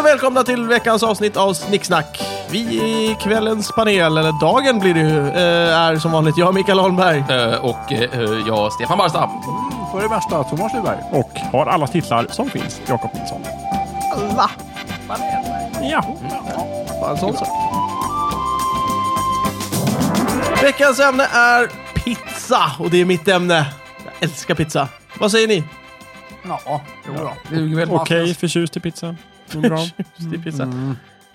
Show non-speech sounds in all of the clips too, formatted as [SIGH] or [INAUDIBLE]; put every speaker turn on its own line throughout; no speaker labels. och välkomna till veckans avsnitt av Snicksnack. Vi i kvällens panel, eller dagen blir det ju, eh, är som vanligt jag, Mikael Holmberg.
Eh, Och eh, jag, Stefan Barstam.
För det värsta, Thomas Lyberg.
och har alla titlar som finns. Jakob Nilsson.
Alla!
Ja.
Bara en sån sak. Veckans ämne är pizza, och det är mitt ämne. Jag älskar pizza. Vad säger ni?
Ja, jo då.
Det duger väl?
Okej, förtjust i pizza. Men Bra.
Det är pizza.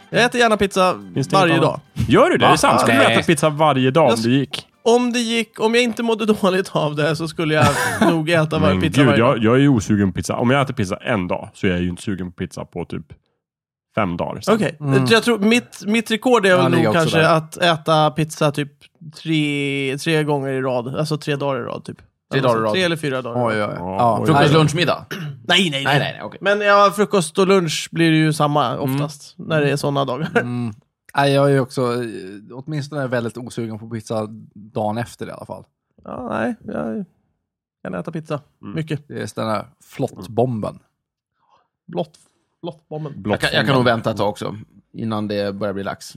Jag äter gärna pizza
Mm. Finns det
varje
något
dag.
annat? [LAUGHS] Gör du det?
Va?
Är det sant? Skulle du
Nej.
äta pizza varje dag om
Jag-
det gick?
Om det gick, om jag inte mådde [LAUGHS] dåligt av det så skulle
[LAUGHS]
jag nog äta varje
Men
pizza
Mm. gud,
varje dag.
jag, jag är ju osugen på pizza. Om jag äter pizza en dag så är jag ju inte sugen på pizza på typ fem dagar. sen.
Okej, jag tror mitt, mitt rekord är
Ja,
väl
ligger
nog
också
kanske
där.
att äta pizza typ tre, tre gånger i rad. Alltså tre dagar i rad typ.
Tre dagar i rad.
Tre eller fyra dagar. i rad.
Oj, oj, oj.
Ja,
Ja,
oj.
frukost,
Nej.
lunch, middag.
Nej, nej, nej.
Nej, nej, nej. okej.
Men ja, frukost och lunch blir ju samma oftast när det är sådana dagar.
Mm. Nej, jag är ju också, eh, åtminstone väldigt osugen på pizza dagen efter i alla fall.
[LAUGHS] Ja, nej, jag kan äta pizza.
Mm.
Mycket.
Det är just den här
Mm.
flottbomben.
Blott, blottbomben.
Blott
Jag kan, jag kan nog vänta ett tag också. Innan det börjar bli lax.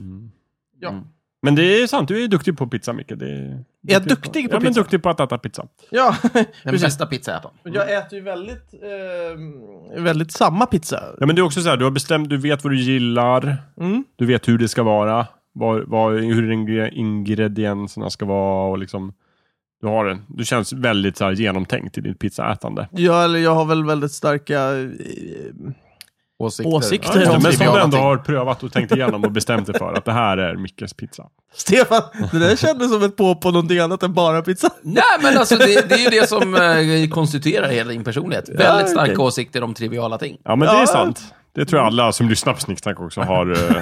Men det är sant, du är duktig på pizza Micke. Det är...
Är jag duktig på
ja, men
pizza?
duktig på att äta pizza.
Ja, [LAUGHS]
Den
Precis.
bästa pizzaätaren.
jag äter ju väldigt, eh, väldigt samma pizza.
Ja, men det är också så här, du har bestämt, du vet vad du gillar,
Mm.
du vet hur det ska vara, vad, vad, hur ingre- ingredienserna ska vara och liksom, du har det. Du känns väldigt så här genomtänkt i ditt pizzaätande.
Jag, eller jag har väl väldigt starka... eh,
Åsikter.
Åsikter.
Ja,
Ja,
men
typ
som
jag
du ändå
någonting.
har prövat och tänkt igenom och bestämt dig för att det här är Mickes pizza.
Stefan, det där kändes som ett på på någonting annat än bara pizza.
Nej, men alltså det, det är ju det som eh, konstituerar hela din personlighet. Väldigt starka
okej.
åsikter om triviala ting.
Ja, men det
Ja.
är sant. Det tror jag alla som lyssnar på Snicksnack också har eh,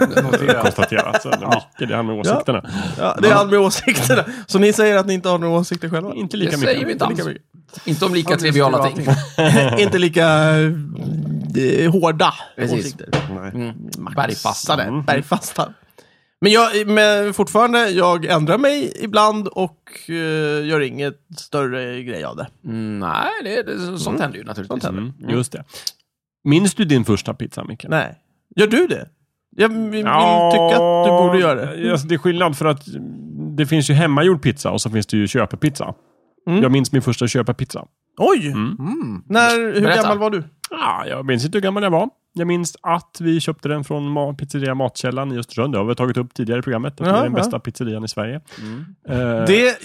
konstaterat. Så, Micke, det här med åsikterna.
Ja, det är han med åsikterna. Så ni säger att ni inte har några åsikter själva?
Inte
Det
lika mycket.
säger vi inte alls. Inte om lika
Ja, det är
triviala ting.
[LAUGHS]
triviala
inte lika eh, hårda
Precis.
åsikter.
Mm. Bergfasta där.
Sådär, bergfasta. Men, jag, men fortfarande, jag ändrar mig ibland och eh, gör inget större grej av det.
Mm, nej, det, det, sånt händer ju naturligtvis.
Mm, just det. Minns du din första pizza, Micke?
Nej. Gör du det? Jag vill tycka att du borde göra det.
Ja, Alltså, det är skillnad för att det finns ju hemmagjord pizza och så finns det ju köpepizza.
Mm.
Jag minns min första köpepizza.
Oj! Mm. När, hur
Mm. Berätta.
gammal var du?
Ah, jag minns inte hur gammal jag var. Jag minns att vi köpte den från ma- pizzeria Matkällan i Östersund. Det har vi tagit upp tidigare i programmet. Att det
Ja,
är den
ja.
bästa pizzerian i Sverige. Eh,
Det,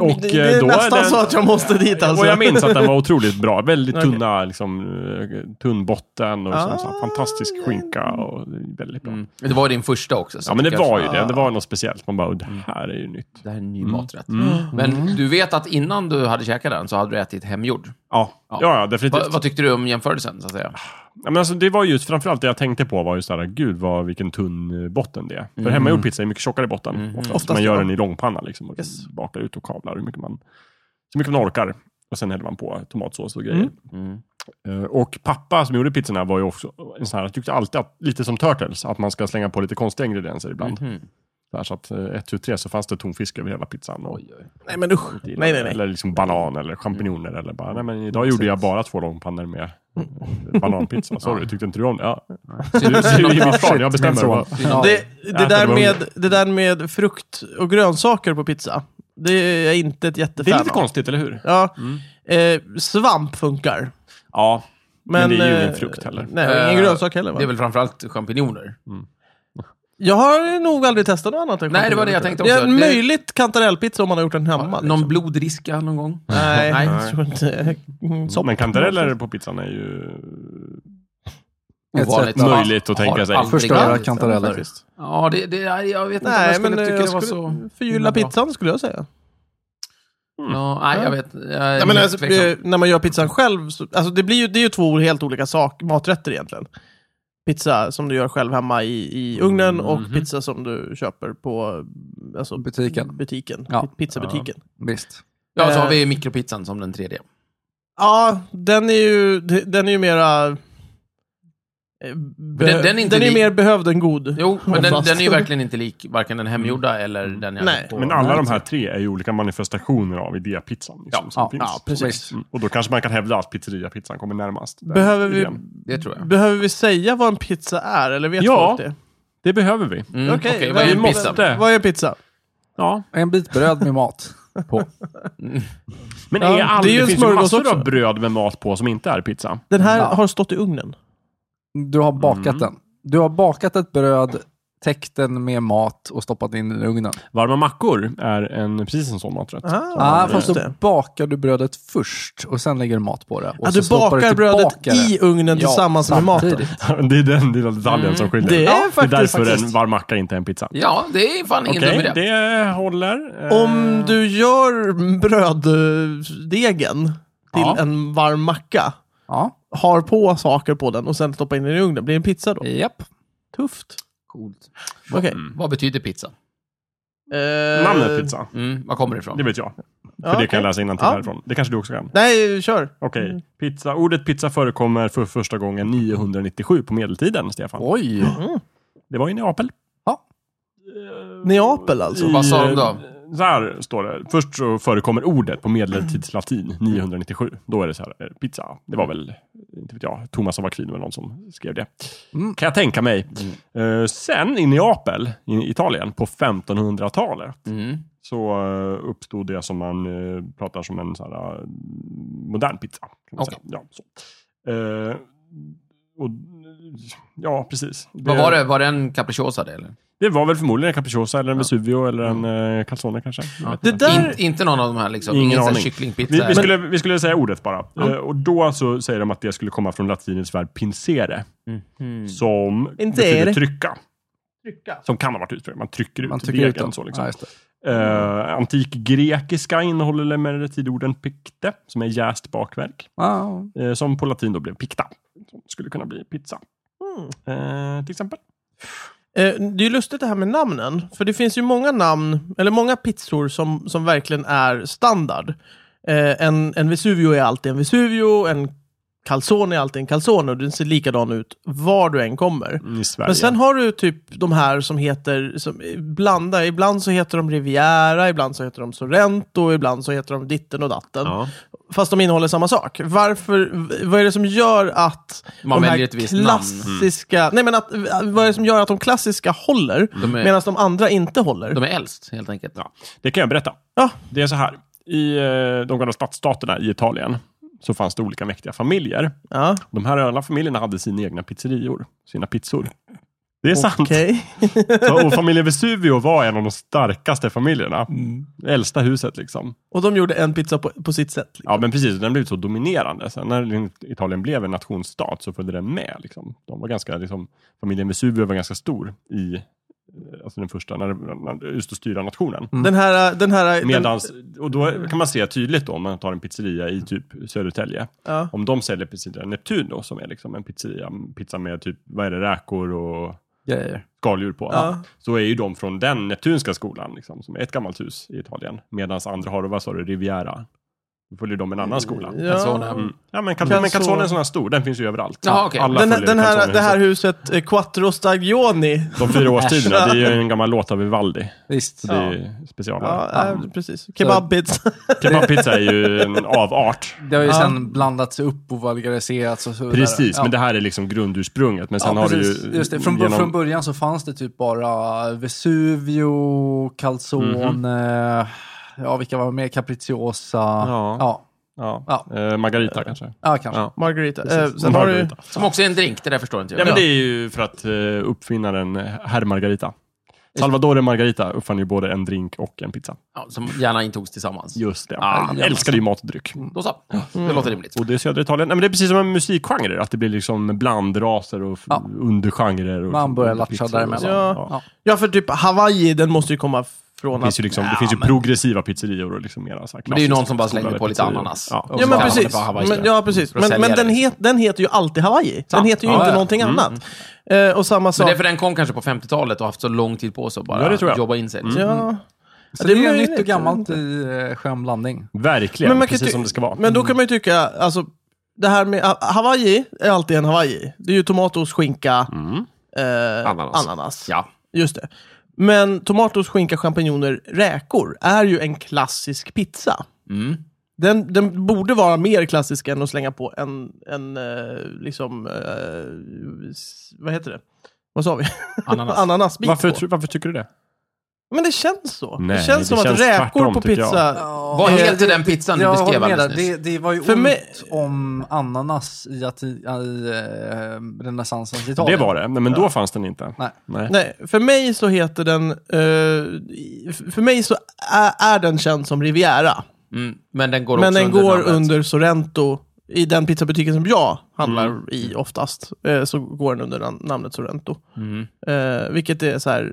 Och,
det är
eh, då är
nästan
den-
så att jag måste dit alltså.
Och jag minns att den var otroligt bra. Väldigt
Okej.
tunna, liksom, eh, tunn botten och liksom
Ah.
så, så, här fantastisk skinka. Och väldigt bra.
Mm. Det var ju din första också. så
Ja, men det
kanske-
var ju det. Det var något speciellt. Man bara, "Oh, det
Mm.
här är ju nytt.
Det här är en ny maträtt. Men du vet att innan du hade käkat den så hade du ätit hemgjord.
Ja, ja, ja definitivt.
Va, vad tyckte du om jämförelsen, så
[LAUGHS]
att säga?
Ja, men alltså, det var just framförallt det jag tänkte på var just det här, gud vad, vilken tunn eh, botten det är. För hemmagjord pizza är mycket tjockare botten. Oftast,
Oftast,
man
ja.
gör den i långpanna liksom, och
Yes.
bakar ut och kavlar hur mycket man, så mycket man orkar. Och sen häller man på tomatsås och grejer.
Mm.
Eh, Och pappa som gjorde pizzorna var ju också en sån här, tyckte alltid att, lite som Turtles, att man ska slänga på lite konstiga ingredienser ibland. Så här, Så att eh, ett, tu, tre så fanns det tonfisk över hela pizzan. Och,
Nej men usch. Nej nej Mm. nej.
Eller liksom banan eller champinjoner eller bara, nej men idag gjorde jag bara två långpannor med
Mm.
eh, bananpizza. Sorry, tyckte inte du om det? Ja. Du ser ju [LAUGHS] i mitt svar, jag bestämmer.
min son.
Ja.
Det, det,
Äta
där
det var
med, det där med frukt och grönsaker på pizza, det är jag inte ett jättefan
Det är lite
av.
konstigt, eller hur?
Ja.
Mm.
Eh, svamp funkar.
Ja.
Men,
Men det är ju
eh,
ingen frukt heller.
Nej, ingen
Eh,
grönsak heller va?
Det är väl framförallt champinjoner.
Jag har nog aldrig testat något annat. än
Nej, det
champinjoner,
var det jag
tror
tänkte också.
Det är
Det-
möjligt kantarellpizza om man har gjort den hemma.
Någon
liksom.
blodriska någon gång?
Nej,
Nej.
jag tror inte. Mm, sopp.
Men kantareller på pizzan är ju
Ett
Ovanligt.
sätt att
möjligt att tänka sig.
aldrig-
Förstöra
Ja,
kantareller.
faktiskt.
Ja, det, det, jag vet inte om jag
Nej,
skulle
men eh,
tycka
jag
det var så...
skulle förgylla
bra.
pizzan skulle jag säga.
Ja, nej, jag vet. Jag är
Ja, men
helt
alltså,
tveksam.
eh, när man gör pizzan själv, så, alltså det, blir ju, det är ju två helt olika sak, maträtter egentligen. Pizza som du gör själv hemma i, i ugnen
Mhm.
och pizza som du köper på alltså,
Butiken.
butiken.
Ja.
Pi- Pizzabutiken.
Visst.
Ja, så har
eh,
vi mikropizzan som den tredje.
Ja, den är ju, den är ju mera... eh,
den- den är inte
är
lik-
mer behövd än god.
Jo, men den,
Oftast.
den är ju verkligen inte lik varken den hemgjorda eller den jag
Mm. Nej.
hade på.
Men alla de här tre är ju olika manifestationer av idépizzan. Liksom, som
ja,
finns.
ja, precis.
Mm. Och då kanske man kan hävda att pizzeriapizzan kommer närmast. den
Behöver vi,
idén.
Det tror jag.
behöver vi säga vad en pizza är, eller vet
Ja.
folk det?
Det behöver vi.
Mm,
Okej,
Okej, vad är
vi
en
måste-
pizza?
måste-
Vad är pizza?
Ja.
En bit bröd
[LAUGHS]
med mat på.
Men
Ja,
är all...
det
det,
är ju en
finns ju
smörgås
massor
också.
av bröd med mat på som inte är pizza.
Den här
Ja.
har stått i ugnen.
Du har bakat
Mm.
den. Du har bakat ett bröd, täckt den med mat och stoppat in den i ugnen.
Varma mackor är en, precis en sån maträtt. [LAUGHS]
Ah, fast
just
då
det.
bakar du brödet först och sen lägger du mat på det. Och
Ja,
så
du
stoppar
bakar brödet
tillbaka det.
i ugnen
Ja,
tillsammans med maten.
samtidigt.
Det är den lilla detaljen som skiljer.
Mm. Det är faktiskt-
det är därför
faktiskt.
en varm macka inte är en pizza.
Ja, det är fan ingen
Okej,
dum idé.
det håller. Eh,
Om du gör bröddegen till
Ja.
en varm macka,
Ja,
har på saker på den och sen stoppar in den i ugnen, blir det en pizza då?
japp.
Tufft.
Coolt.
Okej.
Vad betyder pizza?
Eh,
Namnet pizza,
Mm, var kommer det ifrån?
det vet jag. För
ja,
det
okej.
kan jag läsa innantill
Ja. Mm.
härifrån. Det kanske du också kan.
Nej, kör.
Okej, pizza. Ordet pizza förekommer för första gången 997 på medeltiden, Stefan.
Oj.
Det var i Neapel.
Neapel alltså.
Vad sa de då?
eh, Så här står det. Först så förekommer ordet på medeltidslatin
Mm.
997. Då är det så här, eh, pizza. Det var väl, inte vet jag, Thomas av Aquino eller någon som skrev det.
Mm.
Kan jag tänka mig.
Mm.
Eh, sen i Neapel, i Italien, på 1500-talet.
Mm.
så eh, uppstod det som man eh, pratar som en så här, eh, modern pizza. Kan man
Okej.
säga. Ja, så. Eh, och, ja, precis.
Vad var det? Var det en capricciosa det eller?
Det var väl förmodligen en capricciosa eller en Vesuvio eller en eh, calzone kanske.
Det där...
In, inte någon av de här liksom?
Ingen
Ingen, sån
aning.
här kycklingpizza?
Vi, vi,
eller-
skulle, vi skulle säga ordet bara. Eh, och då så säger de att det skulle komma från latinets verb pincere. Som
Pincere.
betyder trycka. Som kan ha varit uttryck. Man trycker ut
Man tycker ut
degen.
den.
Så, liksom.
Ja, just det.
Eh, antik grekiska innehåller emellertid orden picte, som är jäst bakverk.
Ja,
Eh, som på latin då blev picta. Som skulle kunna bli pizza. Eh, till exempel.
Eh, Det är ju lustigt det här med namnen. För det finns ju många namn, eller många pizzor som, som verkligen är standard. Eh, en, en Vesuvio är alltid en Vesuvio, en calzone är alltid en calzone och den ser likadan ut var du än kommer.
I Sverige.
Mm. Men sen har du typ de här som heter, som blanda, ibland så heter de Riviera, ibland så heter de Sorrento, ibland så heter de ditten och datten.
Ja.
Fast de innehåller samma sak. Varför, v- vad är det som gör att
Man
de här
väljer ett visst namn.
klassiska, nej men att, vad är det som gör att de klassiska håller,
De är-
medan de andra inte håller?
De är äldst helt enkelt.
Ja. Det kan jag berätta.
Ja.
Det är så här. I eh, de gamla stadsstaterna i Italien så fanns det olika mäktiga familjer.
Ja,
De här alla familjerna hade sina egna pizzerior. Sina pizzor. Det är sant.
okej.
Så, och familjen Vesuvio var en av de starkaste familjerna. Det äldsta huset liksom.
Och de gjorde en pizza på, på sitt sätt.
Ja, men precis. Den blev så dominerande. Sen när Italien blev en nationsstat så följde den med. Liksom. De var ganska, liksom, familjen Vesuvio var ganska stor i eh, alltså den första, när, när, just att styra nationen.
Den här, den här...
Medans, och då kan man se tydligt då, om man tar en pizzeria i typ Södertälje.
Den, ja.
Om de säljer pizzeria Neptuno, som är liksom en pizzeria, pizza med typ, vad är det, räkor och
grejer.
skaldjur på.
Ja.
Så är ju de från den Neptunska skolan, liksom, som är ett gammalt hus i Italien. Medan andra har, vad sa du, Riviera. Då följer de en annan skola.
Calzone.
Ja.
Mm. Ja, men, cal-
Calzone.
men calzone är en sån här stor, den finns ju överallt.
Jaha, okej.
Alla
Den,
följer
den här,
calzone.
det här huset, eh, Quattro Stagioni.
De fyra årstiderna, det är ju en gammal låt av Vivaldi.
Visst.
Så det är specialare.
Ja, eh, precis. Kebabpizza.
Kebabpizza är ju en avart.
Det har ju
Ja.
sen blandats upp och vulgariserats och så vidare.
Precis,
Ja.
men det här är liksom grundursprunget. Men sen
ja,
har
precis.
du ju...
Just det. Från,
genom-
från början så fanns det typ bara Vesuvio, Calzone,
Mhm.
eh, ja vilka var med? Capricciosa.
Ja.
ja.
Ja.
Ja.
Eh, Margarita kanske.
Ja, kanske.
Ja.
[LAUGHS] Margarita. Eh, sen har du...
Margarita.
Som också är en drink, det där förstår inte
Ja,
jag.
men det är ju för att eh, uppfinnaren eh, herr Margarita. Salvador Margarita uppfann ju både en drink och en pizza.
Ja, som gärna intogs tillsammans.
Just det.
Ah,
Han
ja.
älskade ju mat och dryck.
Då så. Det låter rimligt.
Mm. Och det är södra Italien. Nej, men det är precis som en musikgenre, att det blir liksom blandraser och f-
Ja.
undergenrer. Och
Man börjar
liksom
latcha
pizzor och
däremellan.
så.
Ja.
Ja.
Ja, för typ Hawaii, den måste ju komma från
Det finns ju,
att...
liksom, det finns ju progressiva pizzerior och liksom mera så här
Men det är ju någon
klassiska
som bara slängde på lite
pizzerior.
ananas.
Ja.
Ja,
Och
men
så
precis.
kallar man det för
Men,
Hawaii.
ja, precis.
För att
Men,
sälja
men den,
det.
het, den heter ju alltid Hawaii. Den
Sant.
heter ju
Ja,
inte
ja.
någonting annat. Eh, och samma
Men
sak...
det är för den kom kanske på 50-talet och haft så lång tid på sig att
Ja,
bara
det tror jag. Mm.
jobba in sig. liksom.
Ja.
Så
Ja,
det,
det är
är
möjligt,
nytt och
jag
gammalt
vet
i eh, skön blandning.
Verkligen,
Men man kan
precis
ty-
som det ska vara.
Men då kan man ju tycka, alltså, det här med ah, Hawaii är alltid en Hawaii. Det är ju tomatos, skinka, eh,
Ananas.
alltså.
ananas.
Ja.
Just det. Men tomatos, skinka, champinjoner, räkor är ju en klassisk pizza.
Mm.
Den, den borde vara mer klassisk än att slänga på en, en eh, liksom, eh, s- vad heter det? Vad sa vi? [LAUGHS]
Ananas.
Ananasbit
Varför,
på.
tr- varför tycker du det?
Men det känns så.
Nej,
det känns som
det känns
att räkor
tvärtom,
på
tycker jag.
pizza...
Vad heter den pizzan du
jag
beskrev
håller med
alldeles
där.
nyss?
det, det var ju
För
ont
mig-
om ananas i, att- i, eh, renässansens
Det
Italien.
var det, men då fanns den inte.
Nej.
Nej, för mig så heter den... eh, i- för mig så är, är den känd som Riviera.
Mm. Men den går
Men
också
den går
namnet.
under Sorrento. I den pizzabutiken som jag handlar i oftast, eh, så går den under nam- namnet Sorrento.
Mm.
Eh, vilket är så här,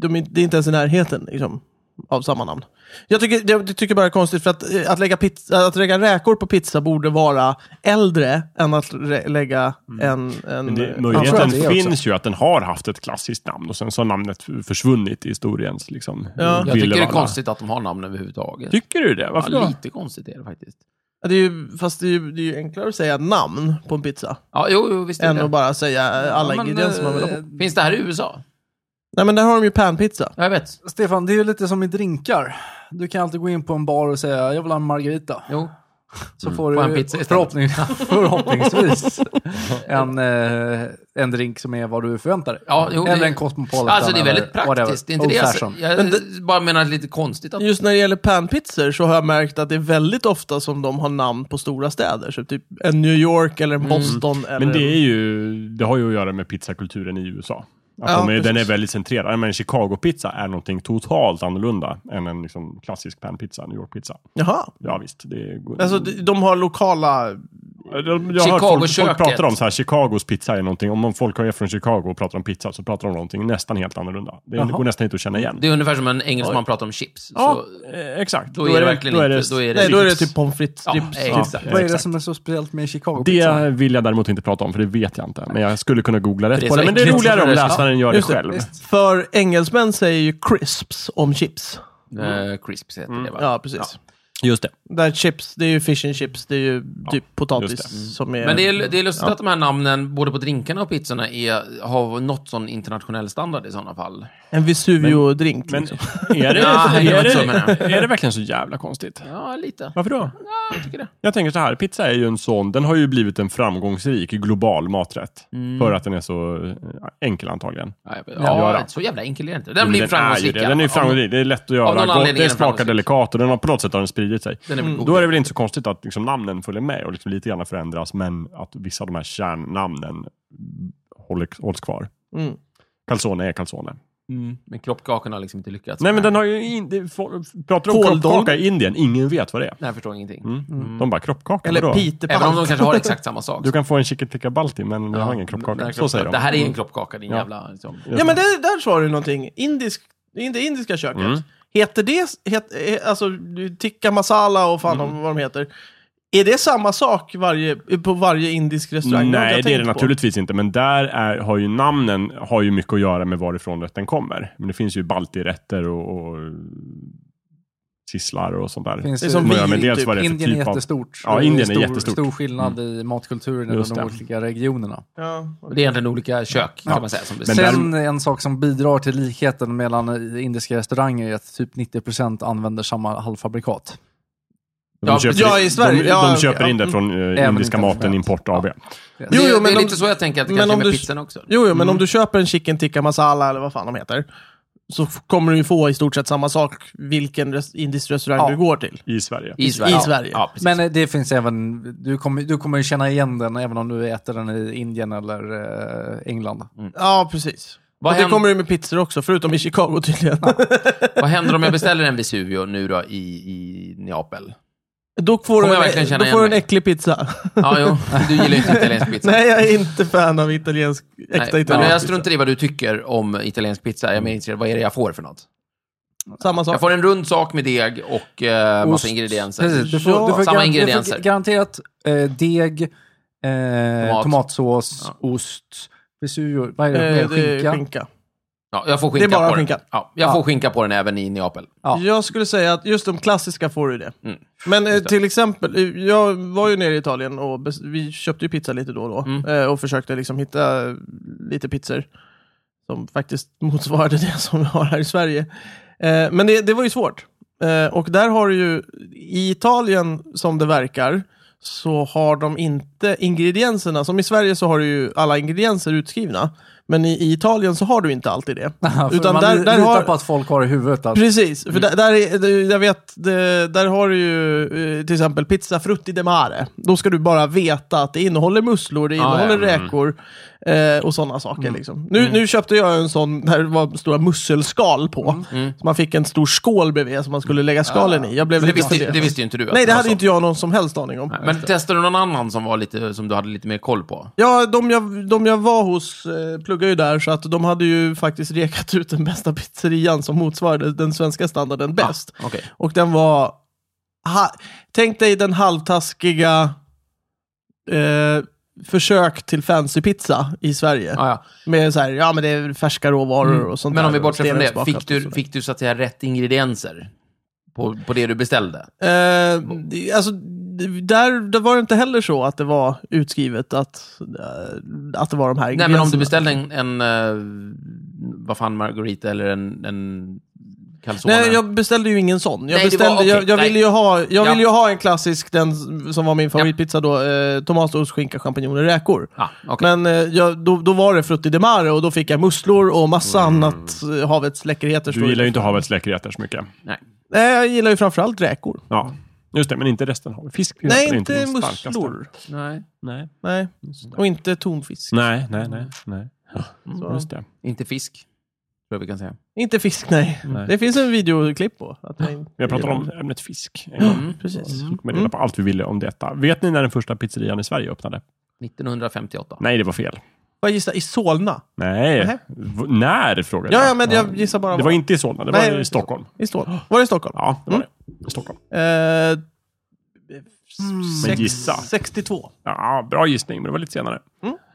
de, är- det är inte ens i närheten liksom, av samma namn. Jag tycker, jag, tycker bara det är konstigt, för att, eh, att, lägga pizza, att lägga räkor på pizza borde vara äldre än att re- lägga en... en
Men det,
eh,
jag tror
möjligheten
att det är
finns ju att den har haft ett klassiskt namn och sen så har namnet försvunnit i historiens liksom,
Ja.
Jag tycker det är
villervalla.
konstigt att de har namn överhuvudtaget.
Tycker du det?
Ja,
Varför då?
lite konstigt är det faktiskt.
ja, det är ju, fast det är, ju, det är ju enklare att säga namn på en pizza,
Ja, jo, jo visst är
än
det.
att bara säga eh, alla
Ja, men,
ingredienser man vill ha på.
eh,
Finns det här i USA?
Nej men där har de ju panpizza.
Ja, Jag vet.
Stefan, det är ju lite som i drinkar. Du kan alltid gå in på en bar och säga jag vill ha en margarita.
Jo.
Så får
Får
du
Mm. en pizza istället. [LAUGHS]
förhoppnings, förhoppningsvis en, eh, en drink som är vad du förväntar dig.
Ja, jo, det-
eller en Cosmopolitan.
Alltså det är väldigt
eller whatever.
praktiskt. Det är inte det
Old
jag,
fashion.
jag, jag bara menar att det är lite konstigt att...
Just när det gäller panpizzor så har jag märkt att det är väldigt ofta som de har namn på stora städer. Så typ en New York eller en Boston. Eller
Mm. Men det,
en-
är ju, det har ju att göra med pizzakulturen i USA. Att
Ja,
de är, den är
precis.
väldigt centrerad. Men en Chicago-pizza är någonting totalt annorlunda än en liksom, klassisk panpizza, New York-pizza.
Jaha.
Ja visst, det går...
Alltså de de har lokala...
Jag, jag har hört folk, folk
Chicago-köket.
pratar om så här, Chicagos pizza är någonting. Om folk är från Chicago och pratar om pizza så pratar de om någonting nästan helt annorlunda. Det går nästan inte att känna igen.
Det är ungefär som en engelsman pratar om chips.
ja,
Så,
eh, exakt.
då är det verkligen
då är
inte- då är det-
Nej, då är det
chips.
typ pommes frites,
Ja,
chips.
nej.
och-
Ja,
Vad är det
exakt.
som är så speciellt med chicago pizza?
Det vill jag däremot inte prata om, för det vet jag inte. Men jag skulle kunna googla
För det är
rätt på
så
det. Men det är
äckligt.
roligare om
Ja,
läsaren gör det
just det.
själv.
Visst.
För engelsmän säger ju crisps om chips.
eh, crisps heter
Mm.
det va?
Ja, precis.
Just det.
Där chips, det är ju fish and chips, det är ju typ
just
potatis
det.
som är...
Men det är, det är lustigt att de här namnen, både på drinkarna och pizzorna, är, har nått sån internationell standard i sådana fall.
En Vesuvio-drink.
Men
liksom.
[LAUGHS] är det,
Ja,
är,
det
det,
var
är,
inte så, menar
det, är det verkligen så jävla konstigt?
Ja, lite.
Varför då?
Ja, jag tycker det.
Jag tänker så här, pizza är ju en sån, den har ju blivit en framgångsrik global maträtt.
Mm.
För att den är så eh, enkel antagligen.
Ja, jag-
Ja,
ja,
då.
så jävla enkel är det inte. Den
Men
blir
är ju
framgångsrik.
det. Den är ju framgångsrik, det är lätt att
någon
göra, gott,
anledning är
det
den
smakar
framgångsrik.
delikat och den har, på något sätt har den spridit sig. Mm.
Den är väl god.
Då är det väl inte så konstigt att liksom, namnen följer med och liksom, lite grann förändras, men att vissa av de här kärnnamnen håller, hålls kvar.
Mm.
Calzone är calzone.
Mm, men kroppkakan har liksom inte lyckats.
Nej, men den har ju... In, det, for, pratar om
Kåldolk.
kroppkaka i Indien, ingen vet vad det är.
Nej, jag förstår ingenting.
Mm. De bara, kroppkaka,
Eller
vadå?
Även om
pitepalt.
de kanske har exakt samma sak.
Du kan få en chicken tikka balti, men vi har
Den
ingen kroppkaka.
här
Så säger de. Mm.
Det här är en kroppkaka, din
Ja.
jävla... Liksom.
Ja, men det, där sa du någonting. Indisk, in- det indiska köket.
Mm.
Heter det, het, eh, alltså tikka masala och fan vad de heter. Är det samma sak varje, på varje indisk restaurang? har
Nej,
jag
det är det
tänkt på.
naturligtvis inte. Men där är, har ju namnen har ju mycket att göra med varifrån rätten kommer. Men det finns ju baltirätter och, och sisslar och sånt där.
Finns
Det är
ju-
som
Men jag menar,
vin,
dels
typ.
vad det är för
Indien är
typ av-
jättestort.
Ja,
Det
Indien är
stor,
jättestort. Mm.
stor skillnad i matkulturen
Just
i de
det.
olika regionerna.
Ja.
Det är egentligen olika kök, kan man säga. Som blir
Men där-
Sen en sak som bidrar till likheten mellan indiska restauranger är att typ 90% använder samma halvfabrikat.
De
Ja,
köper,
ja, i Sverige.
De,
Ja,
de
okej.
köper in det
Ja.
från eh, Indiska
internationellt.
Maten Import AB.
Jo, jo,
det,
men
det är
om-
lite så jag tänker att det
men
kanske är
om
med
du-
pizzan också.
Jo, jo, men om du köper en chicken tikka masala eller vad fan de heter. Så f- kommer du ju få i stort sett samma sak vilken res- indisk restaurang
Ja.
du går till.
I Sverige.
I Sverige.
i
Ja.
Sverige.
Ja, precis.
Men eh, det finns även, du kommer, du kommer ju känna igen den även om du äter den i Indien eller eh, England.
Ja, precis.
Vad
och det
händer-
kommer du med pizzor också, förutom i Chicago tydligen.
Vad händer om jag beställer en Vesuvio nu då i, i Neapel?
Då får
jag
du
verkligen
en,
känna
då
igen
får du en
mig?
äcklig pizza.
Ja, jo. Du gillar ju inte italiensk pizza.
Nej, jag är inte fan av italiensk, äkta
Nej,
italiensk
Men jag
pizza.
struntar i vad du tycker om italiensk pizza. Jag är mer intresserad av vad är det jag får för något.
liksom. Samma sak.
Jag får en rund sak med deg och eh, massa ingredienser.
Precis, du får, du får
Samma
garan-
ingredienser.
Du får garanterat eh, deg, eh,
Tomat.
tomatsås, ost, vesuvio, vad är det?
Eh,
mer?
det är
skinka.
skinka.
Ja, jag får skinka
Det är bara
på
skinka.
den. Ja, jag får skinka på den även i Neapel.
Ja.
Jag skulle säga att just de klassiska får du det.
Mm.
Men eh, till exempel, eh, jag var ju nere i Italien och bes- vi köpte ju pizza lite då och då.
Mm.
Eh, och försökte liksom hitta eh, lite pizzor som faktiskt [LAUGHS] motsvarade det som vi har här i Sverige. Eh, men det, det var ju svårt. Eh, och där har du ju, i Italien som det verkar, så har de inte ingredienserna. Som i Sverige så har du ju alla ingredienser utskrivna. Men i, i Italien så har du inte alltid
[LAUGHS]
det.
För
Utan
man
där-
li-
där
litar
har-
på att folk har i huvudet att
Precis,
Mm.
för där, där är, det- jag vet, det, där har du ju eh, till exempel pizza frutti de mare. Då ska du bara veta att det innehåller musslor, det
Ah, ja. Mm.
innehåller räkor eh, och sådana saker. Liksom. Nu, nu köpte jag en sån där det var stora musselskal på.
Mm.
Så man fick en stor skål bredvid som man skulle lägga skalen i. Jag blev
Ah. Det
lite
visste,
fundersam.
det visste ju inte du. att
Nej, det
var
hade
så.
inte jag någon som helst aning om.
Nej, Men testade du någon annan som, var lite, som du hade lite mer koll på?
Ja, de jag, de jag var hos eh, pluggade ju där, så att de hade ju faktiskt rekat ut den bästa pizzerian som motsvarade den svenska standarden bäst.
Ah, okej.
Och den var... Ha, tänk dig den halvtaskiga eh, försök till fancypizza i Sverige.
Ah, ja. Mm.
Med så här, ja men det är färska råvaror och sånt
Men om
där,
vi bortser från det,
stenugnsbakat
fick
och
du,
sådär.
fick du så att säga rätt ingredienser på, på det du beställde?
Eh, det- alltså, det- där, där var det inte heller så att det var utskrivet att, eh, att det var de här
Nej, men om du
ingredienserna.
beställde en, en eh, vad fan, margarita eller en, en calzone?
Nej, jag beställde ju ingen sån. Jag,
Nej, det
beställde,
var- okej,
jag, jag,
nej.
ville, ju ha, jag
Ja.
ville ju ha en klassisk, den som var min favoritpizza då, eh, tomat, ost, skinka, champinjoner, räkor.
Ah, okej.
Men eh, jag, då, då var det frutti de mare och då fick jag musslor och massa annat eh, havets läckerheter. står
Mm. Du gillar
det.
ju inte havets läckerheter så mycket.
Nej.
Nej, jag gillar ju framförallt räkor.
Ja, just det. Men inte resten av Fisk till
Nej,
exempel är
inte
den starkaste.
musslor.
Nej,
Nej.
Nej, och inte tonfisk.
nej, nej, nej. nej.
Så.
Just det.
inte fisk. Tror jag vi kan säga.
Inte fisk, nej.
Nej.
Det finns en videoklipp på. Att jag inte
Vi har pratat
gillar
om Mm.
det.
ämnet fisk en
Mm.
gång.
Precis.
Så kommer reda på allt vi ville om detta. Vet ni när den första pizzerian i Sverige öppnade?
1958.
Nej, det var fel.
Vad gissar I Solna?
Nej.
Nähä.
V- När frågade
Ja,
jag.
ja, men jag gissar bara.
Det var inte i Solna, det
Nej, Mm. det
var
var
i
inte
Stockholm.
I Solna. Var det i Stockholm?
Ja, det var det. I Stockholm.
Eh, sex-
gissa.
62.
Ja, bra gissning, men det var lite senare.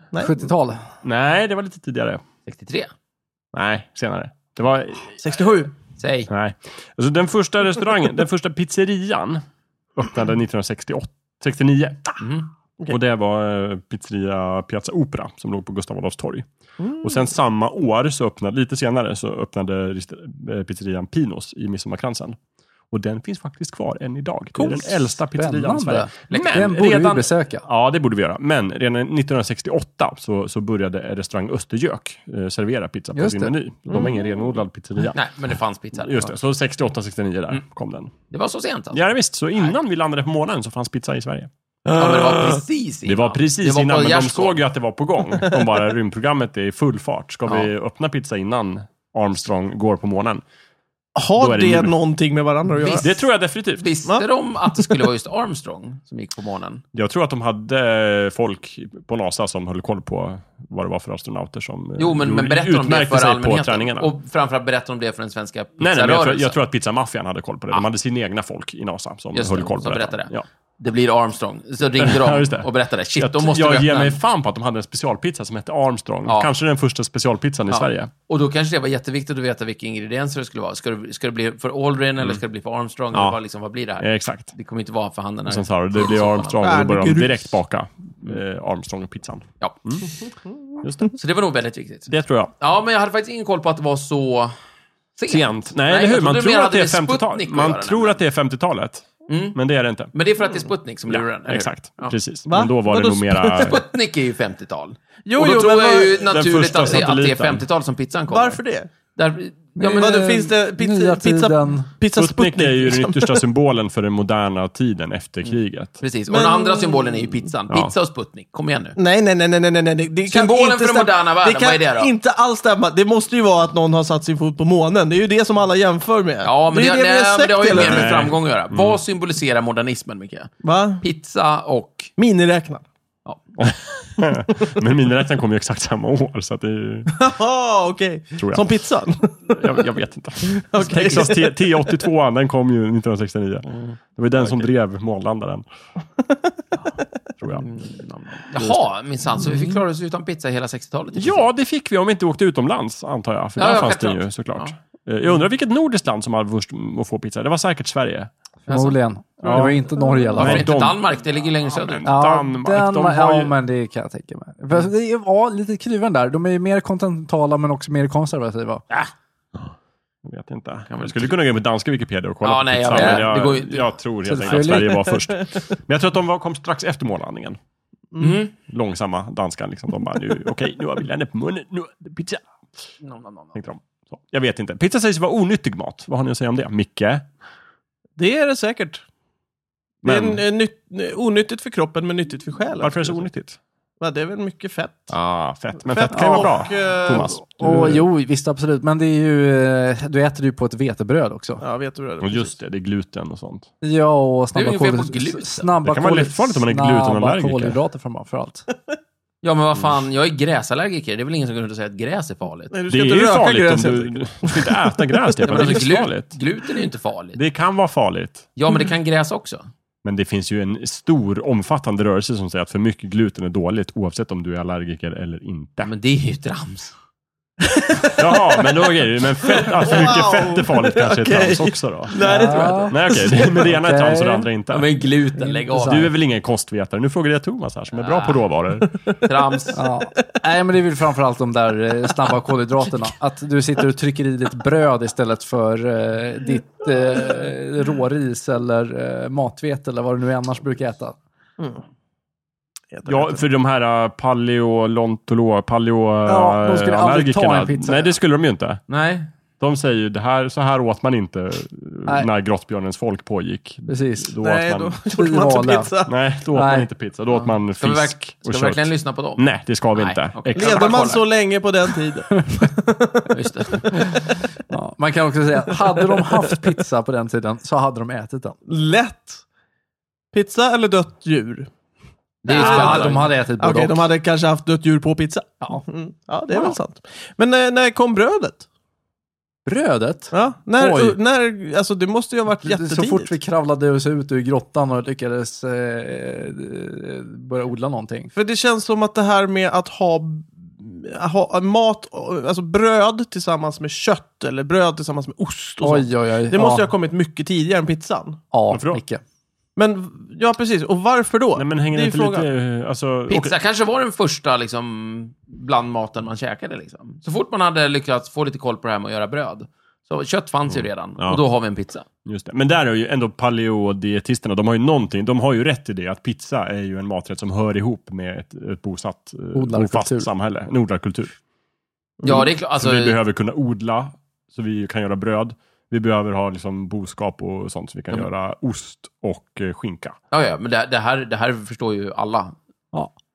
Nej.
70-tal.
Nej, det var lite tidigare.
63.
Nej, senare. Det var...
67.
Säg.
Nej. Alltså den första restaurangen, den första pizzerian öppnade 1968. 69.
Mm.
Och det var eh, pizzeria Piazza Opera som låg på Gustav Adolfs torg.
Mm.
Och sen samma år, så öppnade, lite senare, så öppnade rest- eh, pizzerian Pinos i Midsommarkransen. Och den finns faktiskt kvar än idag. Det är den äldsta pizzerian i Sverige.
Spännande. Den borde vi besöka.
Alltså-
Ja, det borde vi göra. Men redan 1968 så, så började restaurang Östergök eh, servera pizza på
Just
sin
det. Mm.
meny. De var ingen renodlad pizzeria.
Nej, men det fanns pizza.
Just det, så 68-69
Mm.
där kom den.
Det var så sent alltså?
Ja, visst, så innan vi landade på månen så fanns pizza i Sverige.
Ja, men det var precis innan.
Det var precis
Det var på
innan, men de
gärdsgården.
såg ju att det var på gång.
[LAUGHS]
De bara, rymdprogrammet är i full fart. Ska vi öppna pizza innan Armstrong går på månen? Då
Har
är
det,
det nu.
någonting med varandra att göra?
Visst.
Det tror jag definitivt.
Visste de att det skulle vara just Armstrong som gick på månen?
Jag tror att de hade eh, folk på NASA som höll koll på vad det var för astronauter som eh,
Jo, men, men
gjorde-
berätta om det
utmärkte
för
sig på
allmänheten.
träningarna.
Och framförallt berätta om det för den svenska
Nej, nej, men jag, tror,
pizzarörelsen.
jag tror att pizzamaffian hade koll på det. De hade sina egna folk i NASA som
Just det,
höll koll på
som
detta.
berättade.
Ja.
Det blir Armstrong. Så
[LAUGHS]
ringde
Ja,
de
just det.
och berättade. Shit,
Jag,
de måste
jag
vi
ger
öppna.
mig fan på att de hade en specialpizza som hette Armstrong.
Ja.
Kanske den första specialpizzan i
Ja.
Sverige.
Och då kanske det var jätteviktigt att veta vilka ingredienser det skulle vara. Ska det, ska det bli för Aldrin eller ska det bli för Armstrong?
Mm. Ja.
Eller vad, liksom, vad blir det här?
Eh, exakt.
Det kommer inte vara för handen. här.
Sen sa du, det blir Armstrong och då började de
Stjärngrus.
direkt baka eh, Armstrong-pizzan.
Ja.
Just det.
Så det var nog väldigt viktigt.
Mm. det tror jag.
Ja, men jag hade faktiskt ingen koll på att det var så sent.
Sent. Nej,
Nej,
eller hur?
jag
Man
trodde
tror
mer
att det är
hade med
50-talet.
Sputnik att göra,
Man tror att det är 50-talet. Men det är det inte.
Men Mm. det är för att det är Sputnik som lurar den.
Ja,
eller hur?
exakt,
Ja.
precis.
Va?
Men då var det
Vadå
nog
[LAUGHS]
mera...
Sputnik är ju 50-tal.
Jo,
och då
jo,
tror
men
jag
var-
ju
den
naturligt
första
att det, att det är
satelliten.
50-tal som pizzan kommer.
Varför det?
Där, ja, men,
Vadå,
eh,
finns det pizza-
nya
pizza-
tiden.
Pizza Sputnik.
[LAUGHS] Sputnik är ju
Liksom.
den yttersta symbolen för den moderna tiden efter
Mm.
kriget.
precis. Och
Men-
den andra symbolen är ju pizzan.
Ja.
Pizza och Sputnik. Kom igen
[LAUGHS]
nu.
Nej, nej, nej, nej, nej, nej, nej. Det kan
Symbolen
inte
för den
stämma.
moderna världen,
det kan
vad är det då?
inte alls stämma. Det måste ju vara att någon har satt sin fot på månen. Det är ju det som alla jämför med.
Ja, men det,
är ju
nej,
vi
men det har ju
hela
mer med
tiden.
framgång att göra.
Mm.
Vad symboliserar modernismen, Micke?
Va?
Pizza och...
Miniräknaren.
Ja. Mm.
[LAUGHS] Men miniräknaren kom ju exakt samma år, så att det är ju...
Jaha, okej.
Tror jag.
Som pizzan.
Jag, jag vet inte. Alltså, Texas T- T82, den kom ju 1969. Det var ju den som drev månlandaren. Tror ja.
Jaha, minsann. Så vi fick klara oss utan pizza hela 60-talet? i princip.
Ja, det fick vi om vi inte åkte utomlands, antar jag. För
Ja,
där
ja,
fanns det
självklart.
ju såklart. Eh, Jag undrar vilket nordiskt land som hade först m- att få pizza. Det var säkert Sverige.
Förmodligen. Det var ju inte Norge i alla
Nej,
Varför
fall.
inte
de-
Danmark? Det ligger ju längre söderut.
men- Danmark, de
Danmark-
har ju-
ja, men det kan jag tänka mig. Fast Det är, ja, lite kluven där. De är ju mer kontinentala men också mer konservativa.
Jag vet inte.
väl-
Jag skulle kunna gå in på danska Wikipedia och kolla
Ja,
på
nej, jag
pizza,
vet.
men jag,
Det går ju inte.
jag tror helt enkelt att
Selvfølgelig.
Sverige var först. Men
[LAUGHS]
jag tror att de var, kom strax efter mållandningen.
Mm.
Långsamma danskan, liksom. De bara, nu,
[LAUGHS]
okej, nu har vi landat på munnen, nu är det pizza. Tänkte de. Så. Jag vet inte. Pizza sägs vara onyttig mat. Vad har ni att säga om det? Micke?
[LAUGHS] Det är det säkert. Det är
Men
en, en, nytt- eh, onyttigt för kroppen men nyttigt för själen.
varför är det så onyttigt?
Ja, det är väl mycket fett.
Ah, fett. Men fett, kan ju vara bra.
och, eh,
Thomas? Du-
Och, jo, visst absolut. Men det är ju, eh, du äter ju på ett vetebröd också.
Ja, vet du vad det
Och
är?
just det, det är gluten och sånt.
Ja, och
Det är
snabba,
ju fel på
kolhyd-
gluten.
snabba,
Det kan vara
kolhyd-
livsfarligt om man är glutenallergiker.
snabba kolhydrater framför allt.
Ja, men vad fan. Jag är gräsallergiker. Det är väl ingen som går runt och säger att gräs är farligt?
Nej, du
Det
ska
är
inte
ju
röka
farligt
gräs,
om
helt
du...
enkelt.
Du ska inte äta gräs,
[LAUGHS] Ja,
Stefan.
men
Det är
alltså,
livsfarligt.
glu- gluten är ju inte farligt.
Det kan vara farligt.
Ja, men det kan gräs också.
Men det finns ju en stor omfattande rörelse som säger att för mycket gluten är dåligt oavsett om du är allergiker eller [LAUGHS] inte.
Men det är ju trams.
Jaha, men då är det ju- men fett, att för mycket
Wow.
fett är farligt kanske är trams också då?
Nej, det tror jag inte.
Ja.
Nej okej, det- men det ena är trams och det
Okej.
andra inte.
Ja, men gluten, lägg av.
Intressant.
Du är väl ingen kostvetare? Nu frågar jag Thomas här som är bra på [LAUGHS] råvaror.
Trams.
Ja. Nej, men det är väl framförallt de där eh, snabba kolhydraterna. Att du sitter och trycker i ditt bröd istället för eh, ditt eh, råris eller eh, matvete eller vad du nu annars brukar äta.
Heter det.
Ja, för de här äh, paleolontolo,
Ja, de skulle aldrig ta en
paleoallergikerna.
pizza.
äh, nej, det skulle de ju inte.
Nej.
De säger ju det här, så här åt man inte eh,
Nej.
när grottbjörnens folk pågick.
Precis.
Då
Nej,
åt man,
[LAUGHS] då gjorde man inte
Svala.
pizza.
nej, då åt
Nej.
man inte pizza. Då åt man
Ska vi, verk-
fisk
ska
och
vi
kött.
verkligen lyssna på dem?
Nej, det ska vi
Nej,
inte.
okej.
Exakt.
Levde man så länge på den tiden?
Just det.
Ja, man kan också säga, hade de haft pizza på den tiden så hade de ätit den.
[LAUGHS] Lätt. Pizza eller dött djur?
Det
[LAUGHS]
är ju
Ja,
spännande.
de hade ätit både
Okej,
och.
de hade kanske haft dött djur på pizza.
Ja.
Mm. Ja, det är väl sant. Men när, när kom brödet?
Brödet?
Ja, när,
Oj.
uh, när, alltså det måste ju ha varit
Så fort
jättetidigt.
vi kravlade oss ut ur grottan och lyckades eh, eh, börja odla någonting.
För det känns som att det här med att ha, ha mat, alltså bröd tillsammans med kött eller bröd tillsammans med ost och sånt.
Oj, oj, oj.
Det måste ju
ja.
ha kommit mycket tidigare än pizzan.
Ja,
Varför då?
Micke.
Men, ja precis, och varför då?
Nej, men hänger
Det
det
är
inte
frågan.
lite... eh, Alltså,
Pizza
okej.
kanske var den första liksom, blandmaten man käkade. Liksom. Så fort man hade lyckats få lite koll på det här med att göra bröd. Så kött fanns ju redan.
Mm. Ja.
Och då har vi en pizza.
Just det. Men där är ju ändå paleodietisterna, de har ju någonting, de har ju rätt i det att pizza är ju en maträtt som hör ihop med ett, ett bosatt, eh,
Odlarkultur.
bofast samhälle. En odlarkultur.
Ja, det är klart. Alltså,
Mm. så vi behöver kunna odla, så vi kan göra bröd. Vi behöver ha liksom boskap och sånt, så vi kan
Ja.
göra ost och eh, skinka.
ja, ja, men det, det, här, det här förstår ju alla.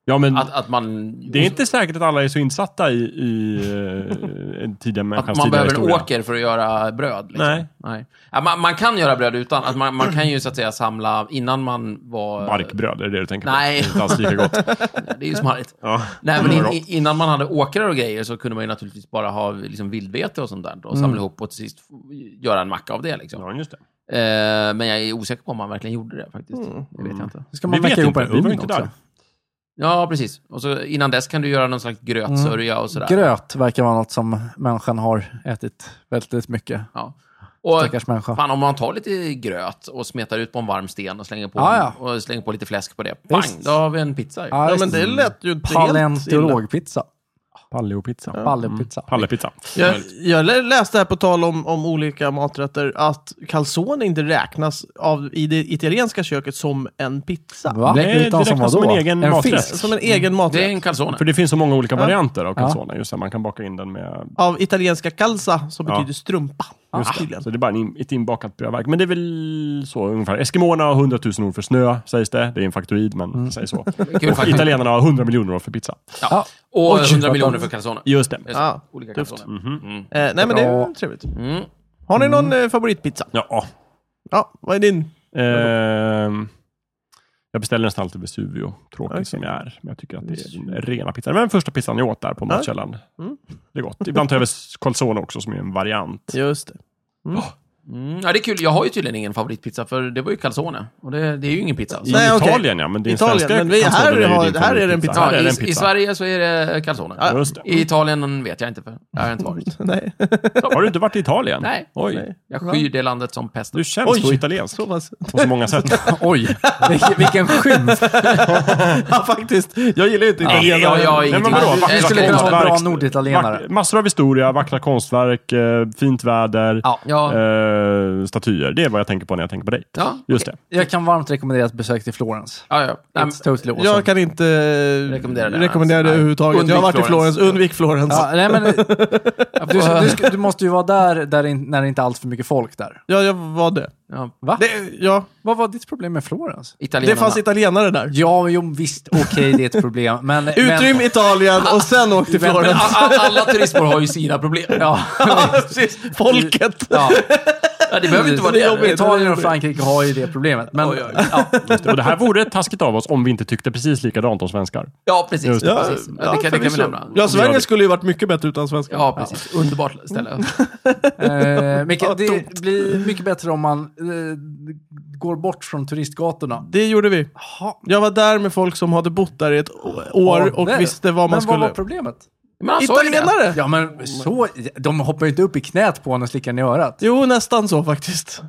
Ja, men
Att, att man...
Mm. det är inte säkert att alla är så insatta i, i eh, en tidiga
Att
människans
man
tidiga
behöver en
historia.
åker för att göra bröd. Liksom.
Nej.
Nej. Ja, man, man kan göra bröd utan. Att man, man kan ju så att säga samla innan man var...
Barkbröd, är det det du tänker
Nej.
på? Inte alls lika
[LAUGHS]
gott.
Det är ju smarrigt.
Ja.
Nej, men in, in- innan man hade åkrar och grejer så kunde man ju naturligtvis bara ha liksom, vildvete och sånt där. Och samla
Mm.
ihop och till sist f- göra en macka av det. Liksom.
ja, just det.
Eh, men jag är osäker på om man verkligen gjorde det faktiskt.
Mm.
Det vet jag inte.
Ska
Vi
man
vet
väcka ihop
inte,
en
vi var
ugn
inte där.
också?
Ja, precis. Och så innan dess kan du göra någon slags grötsörja och sådär.
Gröt verkar vara något som människan har ätit väldigt mycket.
Ja. Och
Stackars människa.
fan, om man tar lite gröt och smetar ut på en varm sten och slänger på,
Ja, ja.
Och slänger på lite fläsk på det. Pang,
Visst.
då har vi en pizza. ju.
Ja,
just
men det lät ju inte helt illa.
Paleontologpizza.
Palleopizza.
Pallepizza.
Pallepizza.
Jag, jag lä- läste här på tal om, om olika maträtter att calzone inte räknas av, i det italienska köket som en pizza.
Va?
Nej, det
Utan som
räknas
vadå?
som en egen maträtt.
fisk?
Som en egen
Det är
maträtt.
en calzone.
För det finns så många olika varianter av calzone. Just det, man kan baka in den med...
Av italienska calza som
Ja.
betyder strumpa.
Just det.
tydligen.
Så det är bara en, in- ett inbakat brödverk. Men det är väl så ungefär. Eskimoerna har 100 000 ord för snö, sägs det. Det är en faktoid, men säg så.
Kul
Och
faktiskt.
Italienarna har 100 miljoner ord för pizza.
Ja. Och
Oj,
100
vad
miljoner
fan.
för calzone.
Just det.
Just det.
Ja.
Olika
Tufft.
calzone. Mm.
Eh, nej men det är
Bra.
väl trevligt.
Mm.
Har ni någon eh, favoritpizza?
Ja.
Ja, vad är din?
Ehm, jag beställer nästan alltid Vesuvio,
Ah,
tråkig som jag är. Men jag tycker att det är den rena pizzan. Det var den första pizzan jag åt där
Ah.
på
Mm.
matkällan. Det är gott. Ibland tar jag väl calzone också, som är en variant.
Just det.
Åh,
Mm, ja, det är kul. Jag har ju tydligen ingen favoritpizza, för det var ju calzone. Och det, det är ju ingen pizza.
I
Alltså.
Nej, okej.
Italien ja, men din
Italien,
svenska
men vi- här
calzone ju
har-
din
här är det en
favoritpizza.
pizza.
Här
Ja,
är det en
i, I
pizza.
Sverige så är det calzone.
Ja, Just det.
I Italien vet jag inte, för jag har inte
[LAUGHS]
[LAUGHS]
varit.
Nej.
Har du inte varit i Italien?
Nej.
Oj.
Nej.
Jag skyr det landet som pesten.
Du känns så italiensk
Så pass.
på så många sätt.
Oj, vilken, vilken skymf.
Ja, faktiskt. [LAUGHS] Jag gillar ju inte
Nej,
italienare.
jag- jag-
Nej, men
Ja,
vadå?
du-
Vackra
du skulle
kunna vara en bra
konstverk,
norditalienare.
vack- Massor av historia, vackra konstverk, eh, fint väder,
Ja.
Ja,
eh, statyer. Det är vad jag tänker på när jag tänker på dig.
ja,
Just det.
Jag kan varmt rekommendera ett besök till Florens.
ja. ja. Nej, men-
It's totally awesome.
Jag kan inte eh,
Rekommendera det.
rekommendera det
Nej.
överhuvudtaget. Jag har varit i
Undvik Florens.
Florens. Undvik Florens.
Ja, nej, men, [LAUGHS] du, du, ska- du måste ju vara där, där in, när det inte är allt för mycket folk där.
Ja, jag var det.
ja.
Va?
det ja,
Vad var ditt problem med Florens?
det
Italienarna.
fanns italienare där.
Ja, jo, visst, okej, det är [LAUGHS] ett problem. Men,
Utrym
men,
Italien och sen åk till
Men-
Men
Florens.
a- a-
[LAUGHS]
alla turistmål har ju sina problem.
ja,
Ja, precis. Folket.
[LAUGHS] ja.
Ja, det behöver inte vara
Det är
det.
jobbigt.
Italien och Frankrike har ju det problemet. Men,
Oj,
Ja,
Just det. Och det här vore tackigt av oss om vi inte tyckte precis likadant om svenskar.
Ja, precis.
Just
Ja,
det.
precis. Ja, det kan, det kan vi
förvisso.
nämna.
Ja,
Gör det.
Sverige skulle ju varit mycket bättre utan svenskar.
Ja, precis. Underbart
[LAUGHS]
ställe.
[LAUGHS] eh,
Ja,
Mikael, det
tomt.
blir mycket bättre om man eh, går bort från turistgatorna.
Det gjorde vi.
Jaha.
Jag var där med folk som hade bott där i ett å- år och
Där.
visste vad man
men vad
skulle...
var problemet?
Men han sa ju det.
Italienare!
Ja, men så, de hoppar ju inte upp i knät på en och slickar en i örat.
Jo, nästan så faktiskt.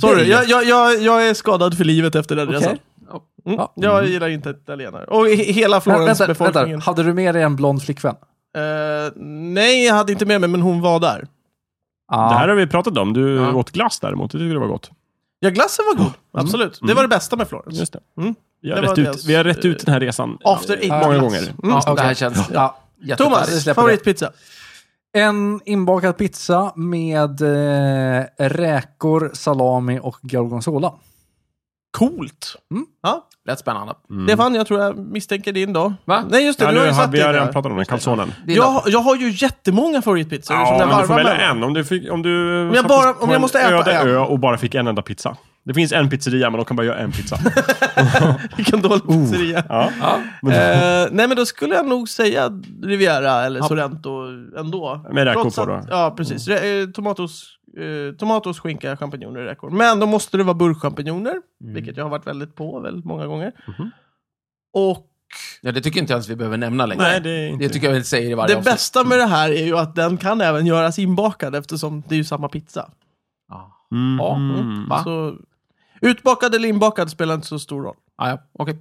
Sorry,
Det-
jag, jag, jag, jag är skadad för livet efter den
Okej.
resan.
Ja.
Mm.
Ja.
Jag gillar inte italienare. Och he- hela
Men, vänta,
Florensbefolkningen.
vänta, hade du med dig en blond flickvän?
Eh, nej, jag hade inte med mig, men hon var där.
Ah.
Det här har vi pratat om. Du
Ja.
åt glass däremot. Det tyckte det var gott.
Ja, glassen var god. Absolut. Det var det bästa med Florens.
Just det.
Mm.
Vi, har
Det var
rätt ut,
deras, eh,
vi har rätt ut den här resan.
After eight
Många
glass.
gånger.
Ja, Det här
Okej.
känns
Ja.
jättetarrigt.
vi
Thomas,
släpper
favoritpizza.
En inbakad pizza med eh, räkor, salami och gorgonzola.
Coolt.
Lät spännande.
Mm.
Det fan, jag tror jag misstänker din då.
Va?
Nej, just det.
Ja,
du
nu
har ju
har,
satt
vi har
din
redan
där.
pratat om den. Calzonen.
Din
Jag,
då?
har- jag har ju jättemånga favoritpizzor som
Ja,
jag
men du får
varvar
välja
mellan.
en. Om du, fick, om du
jag
sattes
bara- om
på
jag
en
måste äta
öde
en.
ö och bara fick en enda pizza. Det finns en pizzeria, men de kan bara göra
[LAUGHS]
en pizza.
Vilken
Oh.
dålig
[LAUGHS]
pizzeria.
Ja.
Ja.
Eh, nej, men då skulle jag nog säga Riviera eller Sorrento ändå.
Med räkor
Trots
på
att-
då. Mm.
Ja, precis. Re- eh, tomatos, eh, tomatos, skinka, champinjoner, räkor. Men då måste det vara burkchampinjoner,
Mm.
vilket jag har varit väldigt på väldigt många gånger.
Mhm.
Och
Ja, det tycker inte ens vi behöver nämna längre.
[LAUGHS] Nej, det är inte...
Det tycker jag vi säger i varje
det bästa med det här är ju att den kan även göras inbakad eftersom det är ju samma pizza.
Ja,
Mm.
Ja.
Mm.
Va?
Så, Alltså, utbakad eller inbakad spelar inte så stor roll.
ja, ja. okej.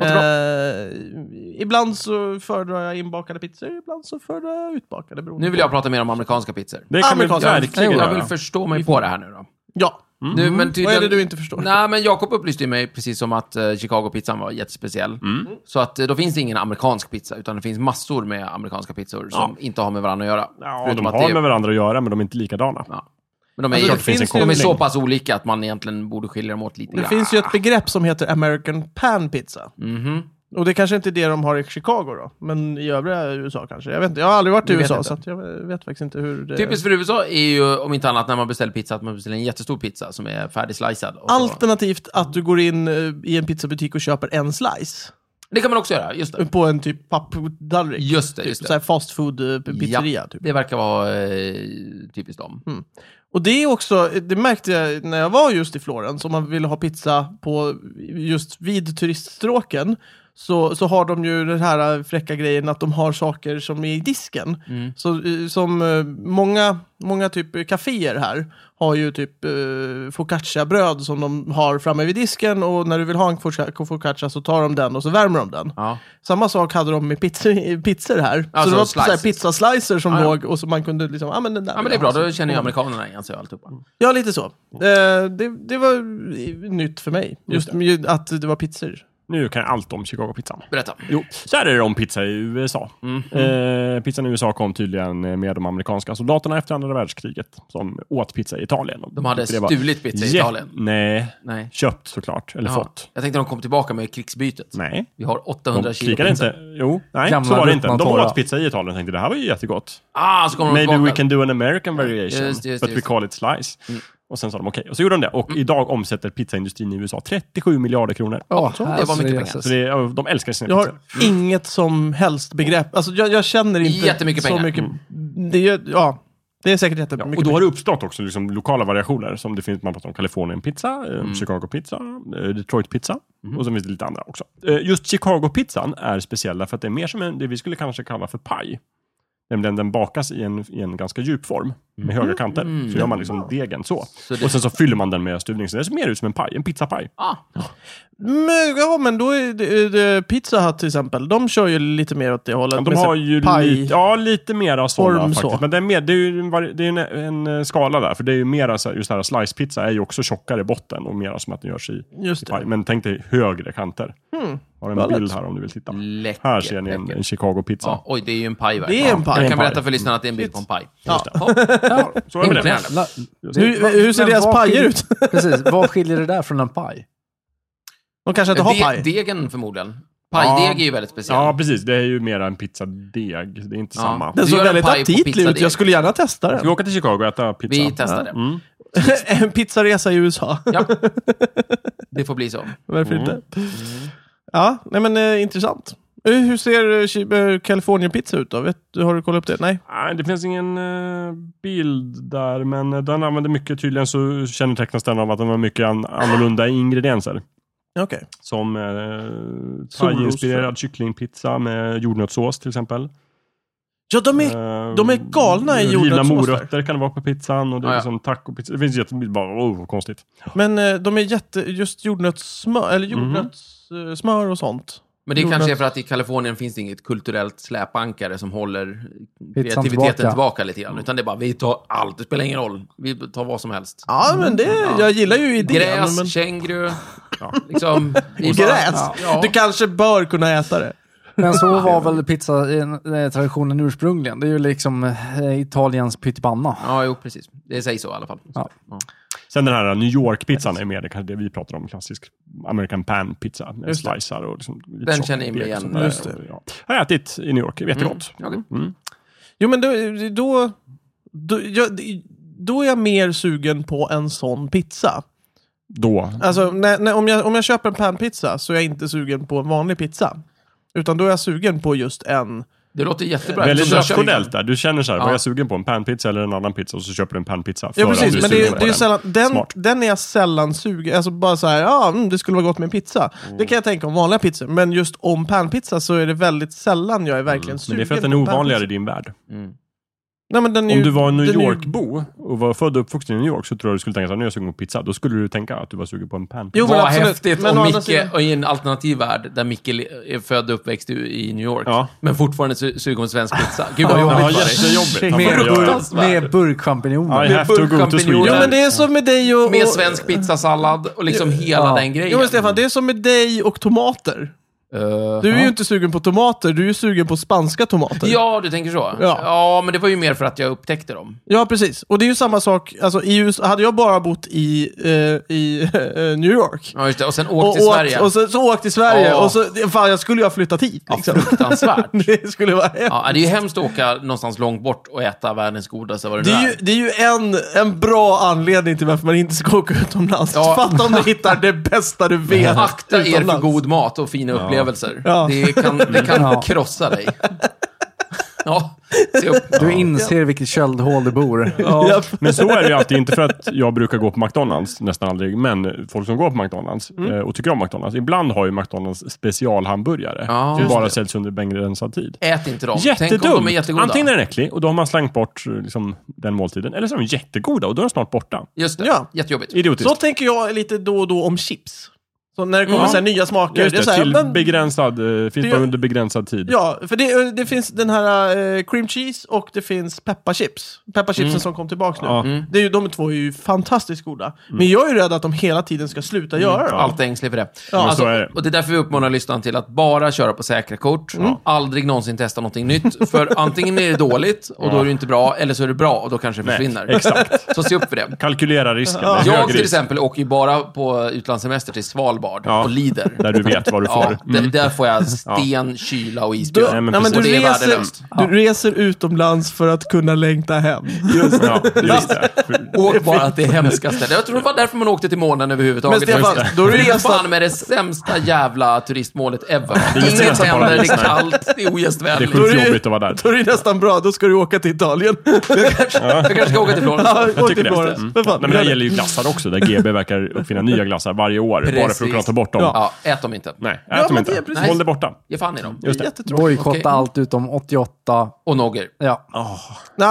Låter bra.
Eh, ibland så föredrar jag inbakade pizzor, ibland så föredrar jag utbakade. beroende
Nu vill
på-
jag prata mer om amerikanska pizzor.
Det kan vi
Amerikanska.
verkligen Mm.
Jag vill
göra.
förstå mig på det här nu då.
Ja.
Nu, men tydligen...
Vad är det du inte förstår?
Nej, men Jakob upplyste ju mig precis som att eh, Chicago-pizzan var jättespeciell.
Mm.
Så att eh, då finns det ingen amerikansk pizza, utan det finns massor med amerikanska pizzor som inte har med varandra att göra.
Ja,
Förutom
de
att
har
det-
med varandra att göra, men de är inte likadana.
Ja. Men de är,
Alltså,
det finns en
de är
koppling.
så pass olika att man egentligen borde skilja dem åt lite
Det
grann.
finns ju ett begrepp som heter American Pan Pizza.
Mhm.
Och det kanske inte är det de har i Chicago då, men i övriga USA kanske. Jag vet inte, jag har aldrig varit i
Vi vet
USA
inte.
så att jag vet faktiskt inte hur det...
Typiskt för USA är ju, om inte annat, när man beställer pizza, att man beställer en jättestor pizza som är färdigslicead. och så-
Alternativt att du går in eh, i en pizzabutik och köper en slice.
Det kan man också göra, just det.
På en typ papptallrik.
Just det, just
Typ så
det.
här fast food eh, pizzeria. Typ.
Det verkar vara eh, typiskt dem.
Och det är också, det märkte jag när jag var just i Florens, om man vill ha pizza på just vid turiststråken, så, så har de ju den här fräcka grejen att de har saker som är i disken.
Mm.
Så, eh, som eh, många, många typ kaféer här har ju typ eh, focaccia-bröd som de har framme vid disken och när du vill ha en foca- focaccia så tar de den och så värmer de den.
Ja.
Samma sak hade de med pizzor, [LAUGHS] pizzor här.
Alltså
så det var
slices. Ah,
så här pizzaslicer som
Ja, ja.
låg och så man kunde liksom, ja Mm. ah, men den där
Ja, men
vill
det är
jag
bra.
ha.
Då känner ju
Ja.
amerikanerna igen sig och alltihopa.
Ja, lite så. Eh, det, det var eh, nytt för mig. Just ju att det var pizzor.
Nu kan jag allt om Chicago-pizzan.
Berätta.
Jo, så här är det om pizza i USA.
Mm.
Eh, pizzan i USA kom tydligen med de amerikanska soldaterna efter andra världskriget som åt pizza i Italien. Och
De hade
tyckte det var
stulit pizza i
jä-
Italien.
Nej,
Nej.
köpt såklart. Eller
Ja.
fått.
Jag tänkte de kom tillbaka med krigsbytet.
Nej.
Vi har 800
De
kilo
krigade
pizza.
inte. Jo, nej,
Gamla
så var det inte. De
ruttna
åt pizza i Italien och tänkte det här var ju jättegott.
Ah, så kommer de
Maybe
tillbaka.
we can do an American variation,
Just, just,
but we
just. Mm.
call it slice. Och sen sa de okej. Och så gjorde de det. Och idag omsätter pizzaindustrin i USA 37 miljarder kronor.
Ja,
det var mycket pengar.
Så det, är- de älskar sina
Jag har
pizzor.
inget som helst begrepp. Alltså, jag, jag känner inte
Jättemycket
så
pengar.
mycket. Det, är- ja. Det är säkert jättebra.
Ja,
mycket
och då har
pengar.
det uppstått också liksom lokala variationer. Som det finns, man pratar om Kalifornien-pizza, eh, Chicago-pizza, eh, Detroit-pizza. Och så finns det lite andra också. Eh, Just Chicago-pizzan är speciell därför att det är mer som en, det vi skulle kanske kalla för paj. Nämligen den bakas i en, i en ganska djup form med höga kanter. Så gör man liksom degen så.
det-
Och sen så fyller man den med stuvning. Så det ser mer ut som en paj, en pizzapaj.
Ah,
Men, ja, men då är det, det, Pizza Hut till exempel, de kör ju lite mer åt det hållet.
Men de
med
har
så här
ju lite, ja, lite mera
Form
sådana
så.
faktiskt. Men det är, mer, det är ju en, vari- det är en, en eh, skala där. För det är ju mera, så här, just det här slicepizza är ju också tjockare i botten och mera som att den görs i
Just
Paj,
det. Hmm.
Men tänk dig högre kanter. Har en
Väldigt.
bild här om du vill titta.
Läckert,
här ser ni en,
läckert.
en Chicago-pizza.
ja. Oj, det är ju en paj
Det
verkligen.
är en paj.
Jag
En
kan
paj.
berätta för lyssnarna att det är en bild på en paj. Ja.
[LAUGHS]
Ja, så är det med det.
Imponerande.
La-
Hur,
vad-
hur ser
men
deras
vad
pajer
skiljer-
ut?
[LAUGHS] Precis, vad skiljer det där från en paj?
De kanske inte har
De,
paj.
degen förmodligen. Pajdeg
Ja.
är ju väldigt speciell.
Ja, precis. Det är ju mera en pizzadeg. Det är inte
Ja.
samma.
Den såg
Du gör en
väldigt
paj på
aptitlig ut,
pizzadeg.
jag skulle gärna testa
Ska vi
den.
åka till Chicago och äta pizza?
Vi testar det.
Mm.
[LAUGHS] en pizzaresa i USA,
Ja. Det får bli så.
varför inte? Ja, nej men eh, intressant. Eh, Hur ser eh, Chi- eh, California-pizza ut då? Vet, du- har du kollat upp det? Nej?
Nej, det finns ingen eh, bild där, men eh, den använder mycket. Tydligen så kännetecknas den av att den har mycket an- annorlunda ingredienser.
Okej.
Som eh,
Solros-
thai-inspirerad kycklingpizza med jordnötssås till exempel. Eh,
Ja, de är... de är galna i
Rivna
jordnötssås där.
morötter kan det vara på pizzan och det är
Ah, ja.
liksom tacopizza. Det finns jättemycket, bara oh, vad konstigt.
Men eh, de är jätte... Just jordnötssmör, eller jordnötssmör och sånt.
Men det
Jo,
kanske
men-
är för att i Kalifornien finns det inget kulturellt släpankare som håller kreativiteten
tillbaka.
tillbaka, lite grann. Utan det är bara, vi tar allt, det spelar ingen roll. Vi tar vad som helst.
Mm. Ja, men det... Jag gillar ju idén.
Gräs,
men...
känguru, liksom. vi bara-
Gräs?
Ja.
Du kanske bör kunna äta det.
Men så var väl pizzatraditionen ursprungligen. Det är ju liksom eh, Italiens pyttipanna.
Ja, jo, precis. Det sägs så i alla fall.
Ja.
Sen den här New York-pizzan är mer det, kanske det vi pratar om, klassisk American pan-pizza med
Just det.
slicer och liksom lite
Den
tjock
känner jag mig
deg och
igen.
sånt där.
Just det.
Ja. Har jag ätit i New York, jättegott.
okej.
Mm.
Jo, men då... Då, då, jag, då är jag mer sugen på en sån pizza.
Då,
Alltså, när, när, om, jag, om jag köper en panpizza så är jag inte sugen på en vanlig pizza. Utan då är jag sugen på just en...
Det låter jättebra.
väldigt
eftersom du har
rationellt där. Du känner så här,
Ja.
var jag sugen på en pan-pizza eller en annan pizza? Och så köper du en pan-pizza. för
Ja,
att du
precis. Men
sugen
det,
på
det är ju sällan, den,
Smart.
den är jag sällan sugen... Alltså bara så här, ja, mm, det skulle vara gott med en pizza.
Mm.
Det kan jag tänka om vanliga pizzor. Men just om panpizza så är det väldigt sällan jag är verkligen sugen
Mm. Men det är för att den är
på panpizza.
ovanligare i din värld.
Nej, men den är
Om
ju,
du var en New
den är ju-
York-bo och var född och uppvuxen i New York så tror jag du skulle tänka så här, nu är jag sugen på pizza. Då skulle du tänka att du var sugen på en pan-pizza.
Jo, men
Vad
absolut.
häftigt
Men å
om
andra
Micke,
sidan-
och i en alternativ värld, där Micke le- är född och uppväxt i i New York,
Ja.
men fortfarande su- suger om svensk pizza. Gud vad
Ja,
jobbigt för dig.
jättejobbigt. Han
Med,
bara, jag-
med burkchampinjoner.
I have to go to
burkchampinjoner.
Jo,
Sweden.
men det är som med dig och...
Med
och-
svensk pizzasallad och liksom hela
Ja.
den grejen.
Jo, men Stefan, det är som med dig och tomater.
Eh,
Du är ju inte sugen på tomater, du är ju sugen på spanska tomater.
Ja, du tänker så?
Ja.
men det var ju mer för att jag upptäckte dem.
Ja, precis. Och det är ju samma sak, alltså i USA, hade jag bara bott i, eh, i [LAUGHS] eh, New York.
Ja, just det. Och sen
Och,
åkte till Sverige.
åkt, och så, så åkt till Sverige,
Ja.
och så, fan jag skulle ju ha flyttat hit liksom.
Fruktansvärt.
[LAUGHS] det skulle vara
Ja, det är ju hemskt att åka någonstans långt bort och äta världens godaste, vad det
Det
nu
är ju,
är.
det är ju en, en bra anledning till varför man inte ska åka utomlands.
Ja.
Fatta om du hittar det bästa du vet
[LAUGHS] Akta er för
utomlands.
god mat och fina upplevelser.
Ja.
Det kan, det kan
Ja.
krossa dig. Ja, se upp.
Du inser vilket köldhål du bor.
Ja.
Men så är det ju alltid. Inte för att jag brukar gå på McDonalds, nästan aldrig, men folk som går på McDonalds
Mm.
eh, och tycker om McDonalds. Ibland har ju McDonalds specialhamburgare
Ja.
som
Just
bara säljs under begränsad tid.
Ät inte dem. Tänk om de är
Jättedum!
jättegoda.
Antingen är den äcklig och då har man slängt bort eh, liksom, den måltiden. Eller så är de jättegoda och då är de snart borta.
Just det.
Ja.
Jättejobbigt.
Idiotiskt.
Så tänker jag lite då och då om chips. Så när det kommer
Mm.
så här nya smaker. det
Just
är
det,
så här,
till
men-
begränsad, eh, finns
Det-
bara under begränsad tid.
Ja, för det, eh, det finns den här eh, cream cheese och det finns pepparchips. Pepparchipsen som kom tillbaka nu.
Mm. Ja.
Mm.
Mm.
Det är ju, de två är ju fantastiskt goda. Men jag är ju rädd att de hela tiden ska sluta göra dem.
Allt är ängslig för det.
men så är det.
Och det är därför vi uppmanar lyssnaren till att bara köra på säkra kort.
Mm.
Aldrig någonsin testa någonting nytt. För
[LAUGHS]
antingen är det dåligt och då är det inte bra, eller så är det bra och då kanske det
Nej,
försvinner.
exakt.
Så se upp för det.
[LAUGHS] Kalkylera risken. Det är hög
Jag till
risk.
exempel åker ju bara på utlandssemester till Svalbard Svalbard
Ja.
och lider.
Där du vet vad du får.
Ja,
Mm.
där, där får
[LAUGHS]
jag sten, kyla och
Du,
isbjörn.
Nej, men
nej, men du,
precis.
Och det är
reser,
värdelöst.
du reser utomlands för att kunna längta hem.
Mm. Ja, just det.
Åk bara till hemska ställen. Jag tror det var därför man åkte till månen överhuvudtaget.
Men Stefan, då är det
det är
nästan-
fan med det sämsta jävla turistmålet ever.
inget
Inget
nästan
händer, det
paradis,
är
nej.
kallt, det är
Det är
ogästvänligt.
Då är
sjukt
det-
jobbigt att vara där.
[LAUGHS] Då är det nästan bra, då ska du åka till Italien.
Jag kanske ska åka till Florens.
Ja,
[LAUGHS] Jag
[LAUGHS] åk
tycker
till
det.
Florens.
Mm.
För fan,
Nej, men det
gör
här
det.
gäller ju glassar också, där GB verkar uppfinna nya glassar varje år, bara för
Precis.
att kunna ta bort dem.
Ja.
Ja, ät dem inte.
Nej, ät
Ja,
dem
men
inte.
det är precis.
Håll det borta.
Ge fan i dem.
Just det.
Jättetråkigt.
Bojkotta
Okej.
allt utom 88.
Och Nogger.
Ja.
Nå,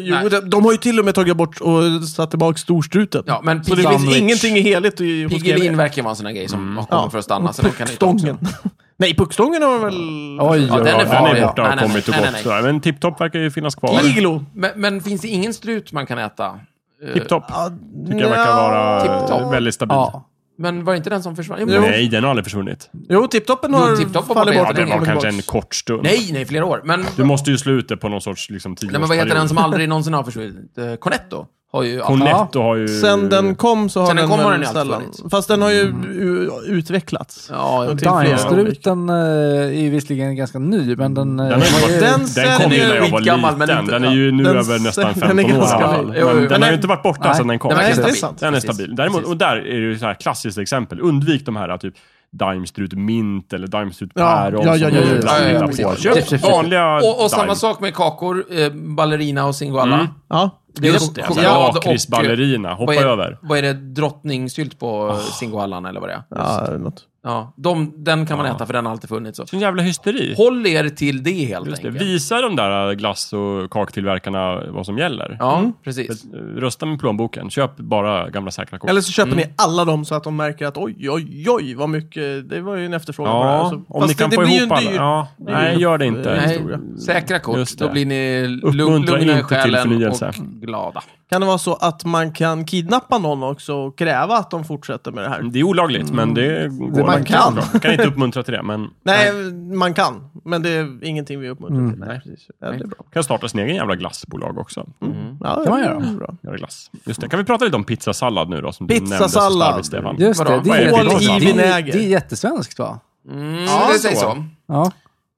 jo,
Nej.
de, de har ju till och med tagit bort och satt tillbaka storstruten.
Ja, men
så det finns
Sandwich.
ingenting i helhet i, hos
Piggelin
GB.
verkar vara en sån där grej som
Mm.
har kommit för att stanna. Så den kan inte också.
Puckstången. [LAUGHS] Nej, puckstången har väl...
Oj,
Ja,
oj,
den är
Ja,
oj.
farlig.
den är borta och
Nej, nej,
kommit och
nej, nej,
gått.
nej.
sådär. Men TipTop verkar ju finnas kvar.
Iglo.
Men, men finns det ingen strut man kan äta? Eh,
TipTop
Ja,
tycker jag verkar
nja.
vara
Tipptopp.
väldigt stabil.
Ja.
Men var det inte den som försvann? Jo, men-
Nej, den har aldrig försvunnit.
Jo, tipptoppen har
Jo, tipptopp var
fallit
borta
bort.
Ja,
och
den var
kommit
kanske en
tillbaks.
kort stund.
Nej, nej, flera år. Men,
Du måste ju slå ut det på någon sorts liksom,
nej, men vad heter den
tioårsperiod.
som aldrig någonsin har försvunnit? Eh, Cornetto har ju...
Cornetto har ju...
Sen den kom så har
Sen den
den,
kom har
väl
den ju alltid
sällan-
funnits.
Fast den har ju u- utvecklats.
Ja, typ. jag
Och
tycker-
till flera olika-
Dine-struten eh, är visserligen ganska ny, men
Mm.
den... eh,
Den, har ju
var
varit,
ju-
Den
den,
säljer
kom ju
ju
när jag var
skitgammal, men
liten.
inte-
Den är ju nu
Den
över nästan
säljer- den är
15 år i alla
ganska-
fall.
Jo, jo,
Men Den
den
har
är-
ju inte varit borta
Nej,
sedan den kom.
Den verkar
Nej, det är
stabil.
sant.
Den är
Precis.
stabil. Däremot,
Precis.
och där är det ju så här klassiskt exempel. Undvik de här typ Daimstrut mint eller Daimstrut
Ja,
päron
ja, ja,
som
ja,
du
ja,
ibland
ja, ja,
hittar
precis.
på.
Ja,
Köp
precis.
vanliga
Och, och
Daim.
samma sak med kakor, eh, ballerina och singoalla.
Mm.
Ja,
Det är
just det.
choklad
Ja,
och-
Chris Ballerina. Hoppa
vad är,
över. Ah.
Vad är det? Drottningsylt på oh. singoallan eller vad det är?
Ja, något.
Ja, de, den kan man äta för den har alltid funnits. Så.
Sån jävla hysteri.
Håll er till det helt
Just det.
enkelt.
Visa de där äh, glass och kaktillverkarna vad som gäller.
Ja, precis.
Rösta med plånboken. Köp bara gamla säkra kort.
Eller så köper
Mm.
ni alla dem så att de märker att oj, oj, oj, vad mycket. Det var ju en efterfrågan på det här.
Ja,
Så-
om
fast
ni kan
det,
få
det blir
ihop
ju en
alla.
dyr...
Ja.
det är
Nej,
ju-
gör det inte.
Nej,
historia.
säkra kort.
Just det.
då blir ni lugn,
Uppmuntra
lugna i
inte till
själen
förnyelse.
och glada.
Kan det vara så att man kan kidnappa någon också och kräva att de fortsätter med det här?
Det är olagligt, men det går.
man
Man
kan.
Man kan inte uppmuntra till det, men
Nej, man kan. Men det är ingenting vi uppmuntrar till.
Mm. Nej. Mm.
precis. Ja, det är bra.
kan starta sin egen jävla glassbolag också. Mm.
Ja,
Kan man göra.
det är Bra.
Göra glass. Just det. Kan vi prata lite om pizzasallad nu då? Som du nämnde så
Pizzasallad.
slarvigt, Stefan.
Just det,
Vadå?
det
Vad är
är,
det? Hål i
det, det, är,
vinäger.
det är jättesvenskt va?
Mm,
Ja,
det sägs
så.
så.
Ja,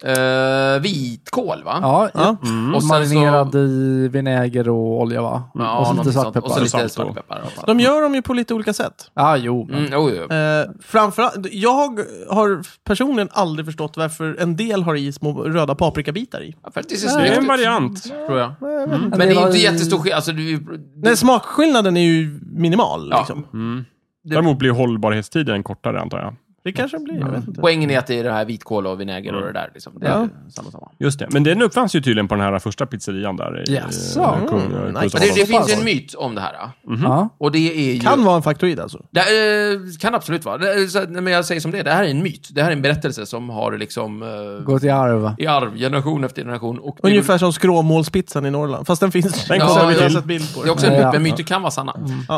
Eh, vitkål, va?
ja.
Ja.
Och Mm. sen
marinerad i vinäger och olja va?
Ja,
och så lite
någonting sånt. Och
svartpeppar.
så lite
Salt.
svartpeppar.
De gör dem ju på lite olika sätt.
Ja, jo. Men.
Mm, oh, ja.
Eh, framförallt, jag har personligen aldrig förstått varför en del har i små röda paprikabitar i.
För att det ser
Det
snyggt
är en
ut,
variant.
tror jag. Mm.
Men
Men det är
var-
inte jättestor skillnad. Alltså, det,
Nej,
det,
smakskillnaden är ju minimal.
Ja. Mm.
Liksom.
Däremot blir hållbarhetstiden kortare, antar jag.
Det kanske blir, jag vet inte.
poängen är att det är det här vitkål och vinäger och det där. Liksom. Det är samma, samma.
Just det. Men den uppfanns ju tydligen på den här första pizzerian där. i-
Jaså?
i Kung-
Mm,
Kungsholmen.
nice.
Men det, det finns ju en
Pass.
myt om det här. ja.
Ja.
Och det är ju...
Kan vara en faktoid alltså.
Det eh, kan absolut vara. Det, är så- nej, men jag säger som det är. det här är en myt. Det här är en berättelse som har liksom eh,
Gå till arv.
i arv, generation efter generation. Och det är-
Ungefär som skråmålspizzan i Norrland. Fast den finns.
Den
Ja,
kommer vi
jag har
till.
sett bild på
Det är
den.
också en myt,
Ja.
men myter kan vara sanna.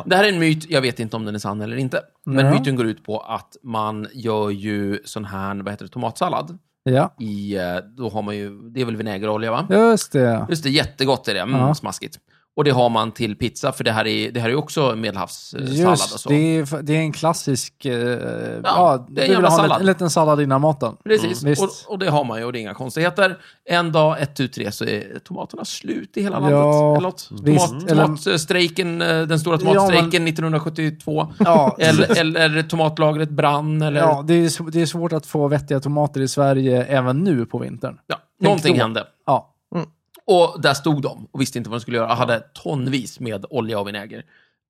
Det här är en myt, jag vet inte om den är sann eller inte. Men
Ja.
myten går ut på att man gör ju sån här, vad heter det, tomatsallad.
Ja,
I, eh, då har man ju, det är väl vinägerolja va?
just det.
Just det, jättegott är det. Mm,
Ja.
Smaskigt. Och det har man till pizza, för det här är, det här är ju också medelhavssallad och
Just,
så.
det är, det är en klassisk... Eh, ja,
det är en
du vill
jävla
ha en,
sallad.
en liten sallad innan maten.
Precis,
Mm, visst.
och, och det har man ju och det är inga konstigheter. En dag, ett, tu, tre, så är tomaterna slut i hela
Ja,
landet. Eller något.
visst.
Tomat,
Eller-
tomatstrejken, eh, den stora
Ja,
tomatstrejken
men-
1972.
Ja,
Eller, eller tomatlagret brann, eller...
ja
Ja,
det, är, sv- det är svårt att få vettiga tomater i Sverige även nu på vintern.
någonting
då.
hände.
Ja,
Och där stod de och visste inte vad de skulle göra. Hade tonvis med olja och vinäger.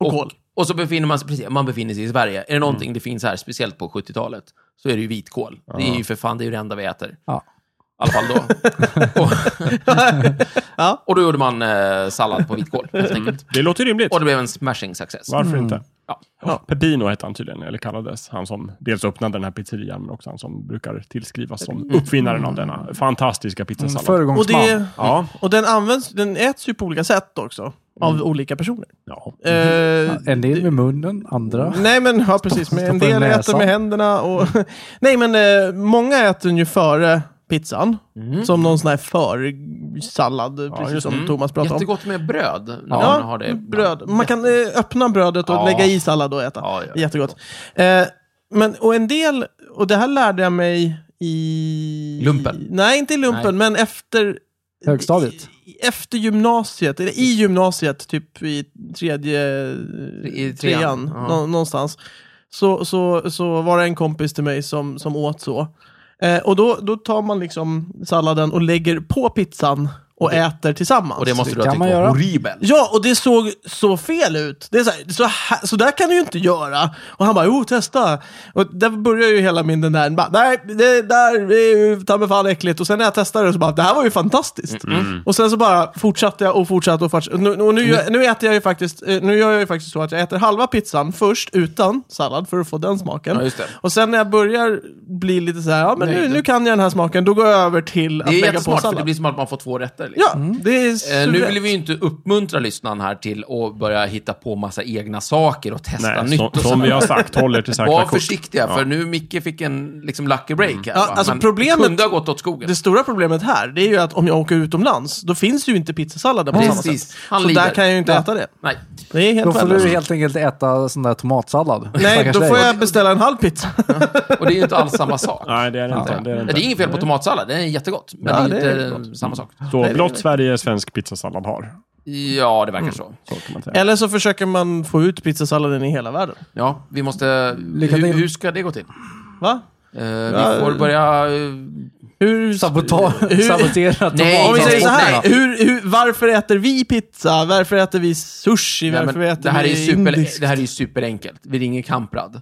Och kol.
Och Mm. så befinner man sig, precis, man befinner sig i Sverige. Är det någonting det finns här, speciellt på 70-talet, så är det ju vitkål. Det är ju för fan, det är ju det enda vi äter.
Ja.
I alla fall [LAUGHS] då. och,
Ja.
och då gjorde man eh, sallad på vitkål, helt enkelt.
Det låter rimligt.
Och det blev en smashing success.
Varför inte?
Ja.
Ja. Peppino hette han tydligen, eller kallades. Han som dels öppnade den här pizzerian, men också han som brukar tillskrivas som uppfinnaren av denna fantastiska pizzasallad.
Mm,
Och,
föregångsman.
det,
Ja.
och den används, den äts ju på olika sätt också. Av
Mm.
olika personer.
ja.
Eh,
En del med munnen, andra...
Nej men ja precis, men en
stoppa i
del äter
näsan.
med händerna och... [LAUGHS] Nej men eh, många äter den ju före pizzan. Som någon sån här försallad, precis
just
som Thomas pratade om.
Jättegott med bröd, när man har
Ja,
det.
bröd. Man kan eh, öppna brödet och
Ja.
lägga i sallad och äta.
Ja, ja,
Jättegott. Eh, Men, och en del, och det här lärde jag mig i...
Lumpen?
Nej, inte i lumpen, men efter...
Högstadiet?
I, efter gymnasiet, eller i gymnasiet, typ i tredje...
I trean. Ja.
nå- någonstans. Så, så, så var det en kompis till mig som, som åt så. Eh, och då, då tar man liksom salladen och lägger på pizzan och, äter tillsammans.
Och det måste du
kan
ha tyckt
man
var
göra.
horribelt.
Ja, och det såg så fel ut. Det är så, här, så, här, så där kan du ju inte göra. Och han bara, jo, testa. Och där börjar ju hela min den där, bara, nej, det där är ju ta mig fan äckligt. Och sen när jag testade det så bara, det här var ju fantastiskt.
Mm,
Och sen så bara fortsatte jag och fortsatte och fortsatte. Och nu, och nu, gör-
Mm.
nu äter jag ju faktiskt, eh, nu gör jag ju faktiskt så att jag äter halva pizzan först utan sallad för att få den smaken.
Ja, just det.
Och sen när jag börjar bli lite så här, ja men nu, nu kan jag den här smaken, då går jag över till att
Det är
lägga på
jättesmart, för det
sallad.
blir som att man får två rätter. Liksom.
Ja, det är
Eh, nu
suveränt.
vill vi ju inte uppmuntra lyssnaren här till att börja hitta på massa egna saker och testa
Nej,
nytt.
som,
och
som
sådär.
vi har sagt, håll er till
[LAUGHS] Var
säkra kort.
försiktiga, för nu Micke fick en liksom, lucky break här.
Ja,
va?
alltså,
Men
problemet-
det kunde ha gått åt skogen.
Det stora problemet här, det är ju att om jag åker utomlands, då finns ju inte pizzasalladen på samma
Precis.
sätt.
Han
så
lider.
där kan jag ju inte äta det.
Nej.
Det är
Då
helt
får du
värdelöst.
helt enkelt äta sån där tomatsallad.
Nej,
Stackars
då
dig.
får jag beställa en halv pizza.
Och det är ju inte alls samma sak.
[LAUGHS] Nej, det är det inte. Det
Nej,
är det
det
inte.
är inget fel på tomatsallad, det är jättegott. Men
Ja,
det är
det är
inte samma sak.
Så blott Sverige svensk pizzasallad har.
Ja, det verkar
Mm.
så.
Så kan man säga.
Eller så försöker man få ut pizzasalladen i hela världen.
Ja, vi måste...
Lycka
Hur,
till.
hur ska det gå till?
Va?
Eh,
Ja,
vi får börja... eh,
Hur...
Sabota-
Hur-
sabotera
Nej,
Om vi säger så här,
Nej.
hur, hur, varför äter vi pizza? Varför äter vi sushi?
Nej,
Varför
men
äter
det, här är
vi
ju super,
indiskt?
det här är ju superenkelt. Vi ringer Kamprad.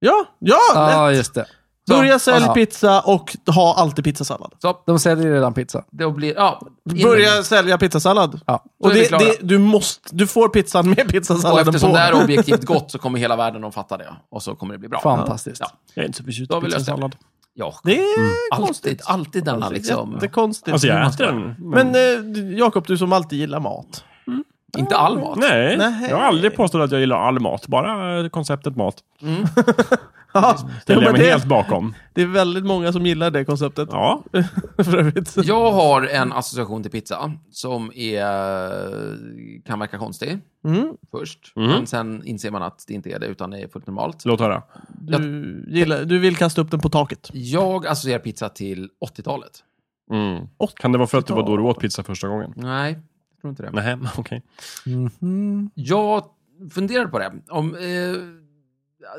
Ja, ja!
Ja,
lätt.
just det.
Börja sälj
Ja.
pizza och ha alltid pizzasallad.
Så,
De säljer redan pizza.
det blir... Ja, in-
Börja sälja pizzasallad.
Ja.
Då
Och
är vi
det,
klara.
det, du, måste, du får pizzan med
Och
pizzasalladen
eftersom
på.
det
[LAUGHS]
är objektivt gott så kommer hela världen att fatta det. Och så kommer det bli bra.
Fantastiskt.
Ja,
Jag är inte så förtjust
Då
i
har vi löst det.
pizzasallad.
ja.
Det är Alltså,
Alltid, alltid denna liksom...
jättekonstigt. Mm.
Alltså jag
man
äter
ska-
den. Men,
Men eh, Jakob, du som alltid gillar
[LAUGHS]
mat.
Inte all mat.
nej,
Nej.
jag har aldrig påstått att jag gillar all mat. Bara eh, konceptet mat.
Ja,
Det
men
ställer jag mig
det-
helt bakom.
Det är väldigt många som gillar det konceptet.
Ja,
[LAUGHS] för övrigt.
Jag har en association till pizza som är, kan verka konstig
Mm.
först.
Mm.
Men sen inser man att det inte är det, utan det är fullt normalt.
låt höra.
Du, gillar, du vill kasta upp den på taket.
Jag associerar pizza till 80-talet.
Mm. Kan det vara för att det var då du åt pizza första gången?
Nej, jag tror inte det.
Nej, okej.
Mhm.
Jag funderar på det. Om, eh,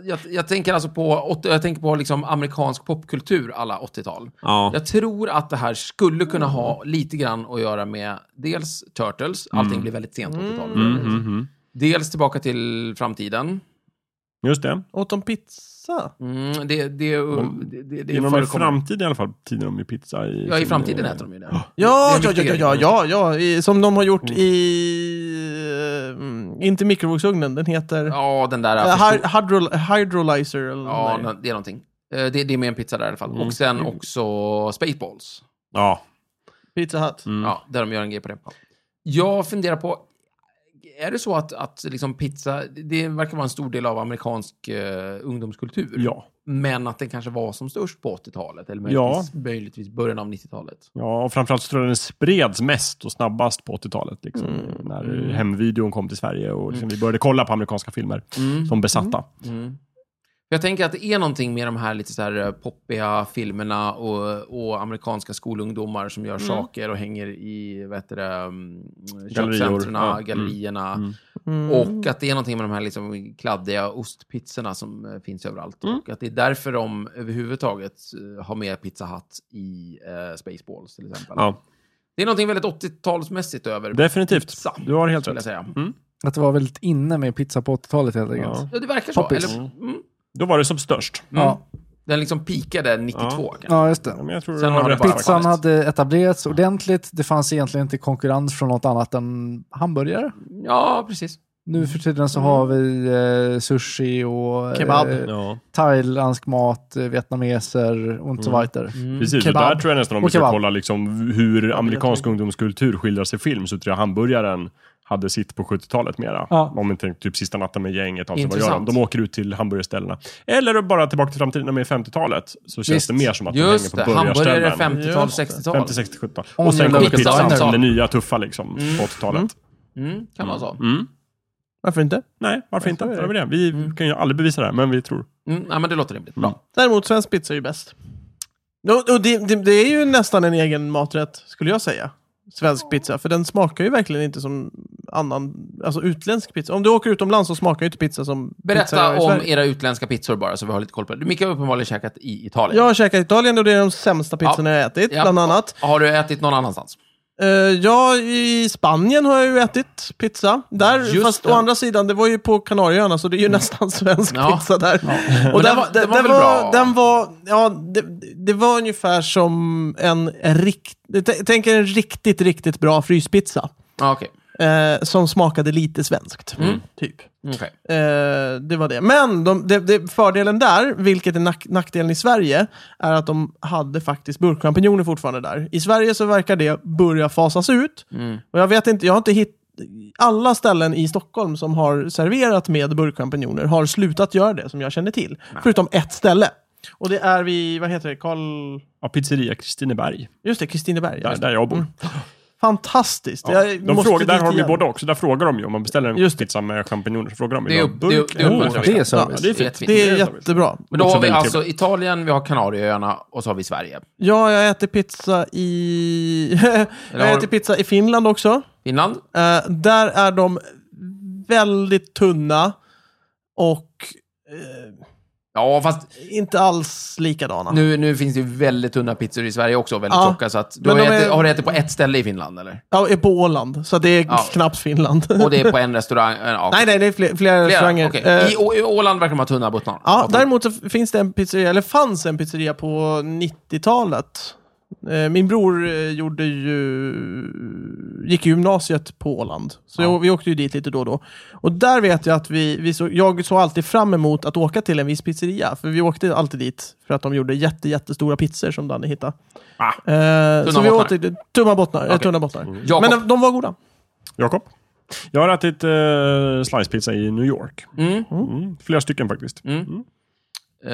jag, jag tänker alltså på, åt- jag tänker på liksom amerikansk popkultur alla 80-tal.
Ja.
Jag tror att det här skulle kunna ha lite grann att göra med dels Turtles,
Mm.
allting blir väldigt sent 80-tal.
Mm, mm, mm.
Dels Tillbaka till framtiden.
Just det.
Åt de pizza?
Mm, det, det, det, det, det
Inom en
förekommer.
framtid i alla fall. Tiden om ju pizza i...
Ja, i
sin-
framtiden äter de ju det.
Ja,
Det
ja,
är
ja,
en
ja,
viktig
ja,
grej.
ja, ja, i- som de har
Mm.
gjort i... eh, mm, inte mikrovågsugnen, den heter...
Ja, den där...
eh,
förstår-
hy- hydrol- hydrolyzer eller
ja,
något.
nå- det är någonting. Eh, Det, det är med en pizza där i alla
Mm.
fall. Och sen också Spaceballs.
Ja.
Pizza Hut.
Mm.
Ja, där de gör en grej på det. Jag funderar på, är det så att, att liksom pizza, det verkar vara en stor del av amerikansk eh, ungdomskultur.
Ja.
Men att den kanske var som störst på 80-talet, eller
Ja.
möjligtvis, möjligtvis början av 90-talet.
Ja, och framförallt så tror jag den spreds mest och snabbast på 80-talet. Liksom,
Mm.
När hemvideon kom till Sverige och liksom, vi började kolla på amerikanska filmer
Mm.
som besatta.
Jag tänker att det är någonting med de här lite så här eh, poppiga filmerna och, och amerikanska skolungdomar som gör saker och hänger i vad heter det, um,
Mm. Gallerior.
köpcentren,
Ja. Mm.
gallerierna.
Mm.
Och att det är någonting med de här liksom kladdiga ostpizzorna som eh, finns överallt.
Mm.
Och att det är därför de överhuvudtaget eh, har med Pizza Hut i eh, Spaceballs till exempel.
Ja,
Det är någonting väldigt 80-talsmässigt över
definitivt.
pizza,
Du har helt
skulle jag
rätt.
säga.
Att det var väldigt inne med pizza på 80-talet helt enkelt.
Ja.
Ja, det verkar så.
Poppis.
Eller, mm,
Då var det som störst.
Ja.
den liksom pikade 92 kanske.
ja, just det.
Ja, men jag tror
Sen
du
har
har
det
rätt.
bara-
faktiskt.
Pizzan
faktiskt.
hade etablerats ordentligt. Det fanns egentligen inte konkurrens från något annat än hamburgare.
Ja, precis.
Nu för tiden så har vi eh, sushi och
Kebab.
Eh,
Ja,
Mm.
thailändsk mat, eh, vietnameser och inte så vidare.
precis. Och
Kebab.
där tror jag nästan om vi
Och
ska
kebab.
kolla liksom hur amerikansk ungdomskultur skildras i film så tror jag hamburgaren hade sitt på 70-talet mera.
Ja.
Om inte typ sista natten med gänget. Alltså, vad gör de?
Intressant.
de åker ut till hamburgerställena. Eller bara tillbaka till framtiden, när de är i 50-talet. Så känns
Visst.
det mer som att de hänger
Just
på
det,
burgarställen.
hamburgare 50-tal,
Just det.
60-tal.
50, 60, 70
Om
Och sen
jag
kom
luktar
pizzan
diner.
som det nya tuffa liksom, på 80-talet.
Mm, kan vara så.
Mm.
Varför inte?
Nej, varför inte?
så är det.
Varför det? Vi kan ju aldrig bevisa det här, men vi tror.
Mm, ja, men det låter rimligt. Bra.
Däremot svensk pizza är ju bäst. Och, och det, det, det är ju nästan en egen maträtt, skulle jag säga. Svensk pizza, för den smakar ju verkligen inte som annan, alltså utländsk pizza. Om du åker utomlands så smakar ju inte pizza som pizza
Berätta
i
om
Sverige.
era utländska pizzor bara, så vi har lite koll på det. Micke har uppenbarligen käkat i Italien.
Jag har käkat i Italien och det är de sämsta pizzorna jag har ätit,
Ja.
bland annat.
Har du ätit någon annanstans?
Eh, ja, i Spanien har jag ju ätit pizza. Där,
Just
fast
det. Mm.
å andra sidan, det var ju på Kanarieöarna så det är ju nästan svensk
Ja.
pizza där.
Men
Och den,
den var-
den,
den var
den
väl bra?
var, den var, ja, det, det var ungefär som en riktig, tänk er en riktigt, riktigt bra fryspizza.
Ja, okej.
Eh, som smakade lite svenskt,
Mm.
typ.
Okej.
Eh, det var det. Men de, de, de, fördelen där, vilket är nack, nackdelen i Sverige, är att de hade faktiskt burkchampinjoner fortfarande där. I Sverige så verkar det börja fasas ut.
Mm.
Och jag vet inte, jag har inte hittat alla ställen i Stockholm som har serverat med burkchampinjoner har slutat göra det som jag känner till. Förutom ett ställe. Och det är vid, vad heter det, Karl...
Ja, pizzeria Kristineberg,
Just det, Kristineberg.
där,
Just det.
där jag bor.
Fantastiskt.
Ja,
Jag
de
måste
frågar, där
dit
har vi
igen.
båda också. Där frågar de ju om man beställer en
Just det.
pizza med champinjoner. Så frågar de ju.
Det är
"Vill
upp-
du ha
det är
burk
upp- det är
eller?"
uppmuntrar vi.
Det är
Ja,
service.
det är
Det är
fint.
fint.
Det är
Det är service.
jättebra.
Men då
Också
har vi
väldigt
alltså Italien, vi har Kanarieöarna och så har vi Sverige.
Ja, jag äter pizza i... [LAUGHS]
Eller
jag
har-
äter pizza i Finland också.
Finland?
Eh, där är de väldigt tunna och
Ja, fast
inte alls likadana.
nu, nu finns det ju väldigt tunna pizzor i Sverige också, väldigt
Ja.
tjocka. Så att, du
Men
har,
de
ätit,
är-
har du ätit på ett ställe i Finland, eller?
Ja, är på Åland, så det är
Ja.
knappt Finland. [LAUGHS]
Och det är på en restaurang? Ja,
nej, nej, det är fler, flera
flera.
restauranger.
okej.
Eh,
I, Å- I Åland verkar de ha tunna buttnar.
Ja, däremot så finns det en pizzeria, eller fanns en pizzeria på 90-talet. Eh, Min bror eh, gjorde ju, gick i gymnasiet på Åland, så jag, vi åkte ju dit lite då och då. Och där vet jag att vi, vi så, jag såg alltid fram emot att åka till en viss pizzeria, för vi åkte alltid dit för att de gjorde jätte, jättestora pizzor som Danne hittade.
Ah.
Eh, så vi
bottnar.
åt dit- tumma bottnar. eh,
Okej. Mm.
Tunna bottnar.
Jakob.
Men de, de var goda.
Jakob? Jag har ätit uh, slicepizza i New York.
Mm.
Mm. Flera stycken faktiskt.
Eh,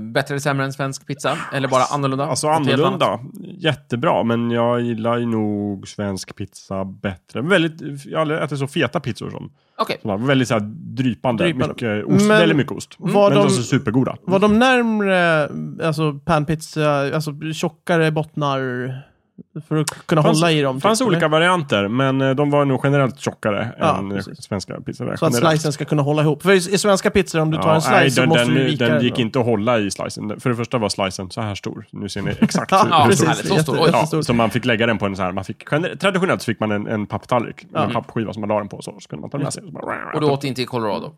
bättre eller sämre än svensk pizza? Eller bara annorlunda?
Alltså
Något helt annat?
annorlunda. Jättebra, men jag gillar ju nog svensk pizza bättre. Väldigt, jag har aldrig ätit så feta pizzor som.
Okej.
som var väldigt så här, drypande.
Drypande.
Mycket ost,
Men
väldigt mycket ost.
var
men
de-
de... så supergoda.
Var de närmre alltså panpizza, alltså tjockare bottnar för att kunna
Fanns-
hålla i dem? typ,
fanns
eller?
olika varianter, men eh, de var nog generellt tjockare
Ja,
än eh,
precis.
svenska pizzor.
Så att
generellt.
scicen ska kunna hålla ihop. För i, i svenska pizzor, om du tar en slice
nej,
så
den,
måste
den,
du vika
den gick
va?
inte att hålla i slicen. För det första var slicen så här stor. Nu ser ni
[LAUGHS]
exakt hur,
Ja,
hur
precis.
stor
härligt. Så stor.
Jätte-
Oj.
Ja,
jättestor.
så man fick lägga den på en så här, man fick, gener- traditionellt så fick man en, en papptallrik, en pappskiva som man la den på, så, så kunde man ta den med sig. Så bara,
Och du åt inte i Colorado?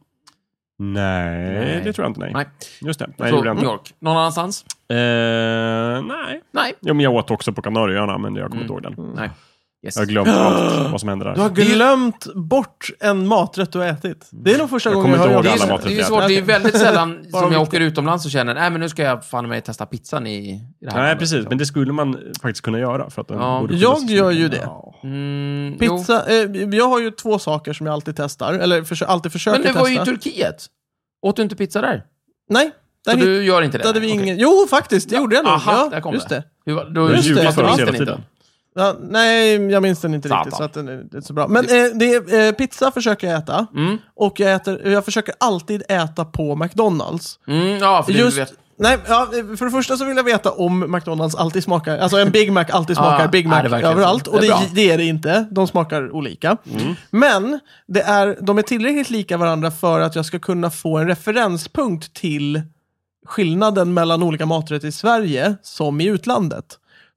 Nej,
Nej.
det tror jag inte. Nej.
Nej.
Just det, nej,
så,
det gjorde jag
New
inte.
York. Någon annanstans?
Eh, nej.
Nej.
Jo, men jag åt också på Kanarieöarna, men jag kommer inte ihåg den.
Nej. Yes.
Jag har glömt allt vad som hände där.
Du har glömt bort en maträtt du har ätit. Det är nog första
Jag
gången
kommer
jag
inte
har
Det är, ju-
ihåg alla
det är ju
maträtter.
svårt, det är ju väldigt
[LAUGHS]
sällan som
de
jag åker utomlands och känner nej men nu ska jag fan mig testa pizzan i, i det här
Nej,
landet."
precis. Men det skulle man faktiskt kunna göra. För att den
liksom. Ja.
borde
Jag
skyddas.
gör ju det.
Ja.
Mm, jo.
Pizza, eh, jag har ju två saker som jag alltid testar, eller försö- alltid försöker
Men du
testa.
var ju i Turkiet. Åt du inte pizza där?
Nej,
Så
där
du gör inte det?
hittade vi
Okej.
ingen... Jo, faktiskt, det gjorde jag nog.
Aha,
ja,
där kom
just
det.
det.
Hur var- Då
Du har
Just det,
ljugit för
jag
oss
minns
hela
den
tiden.
Ja, nej, jag minns den inte
Satan.
riktigt. Så att den är inte så bra. Men eh, det är, eh, pizza försöker jag äta.
Mm.
Och jag, äter, jag försöker alltid äta på McDonalds.
Mm, ja, för
Just,
du vet.
nej, ja, för det första så vill jag veta om McDonalds alltid smakar, alltså en Big Mac alltid smakar
Ah,
Big
är
Mac
det verkligen
överallt.
så?
Och
Det är
det,
bra. Mm.
det är det inte, de smakar olika. Men det är, de är tillräckligt lika varandra för att jag ska kunna få en referenspunkt till skillnaden mellan olika maträtter i Sverige som i utlandet.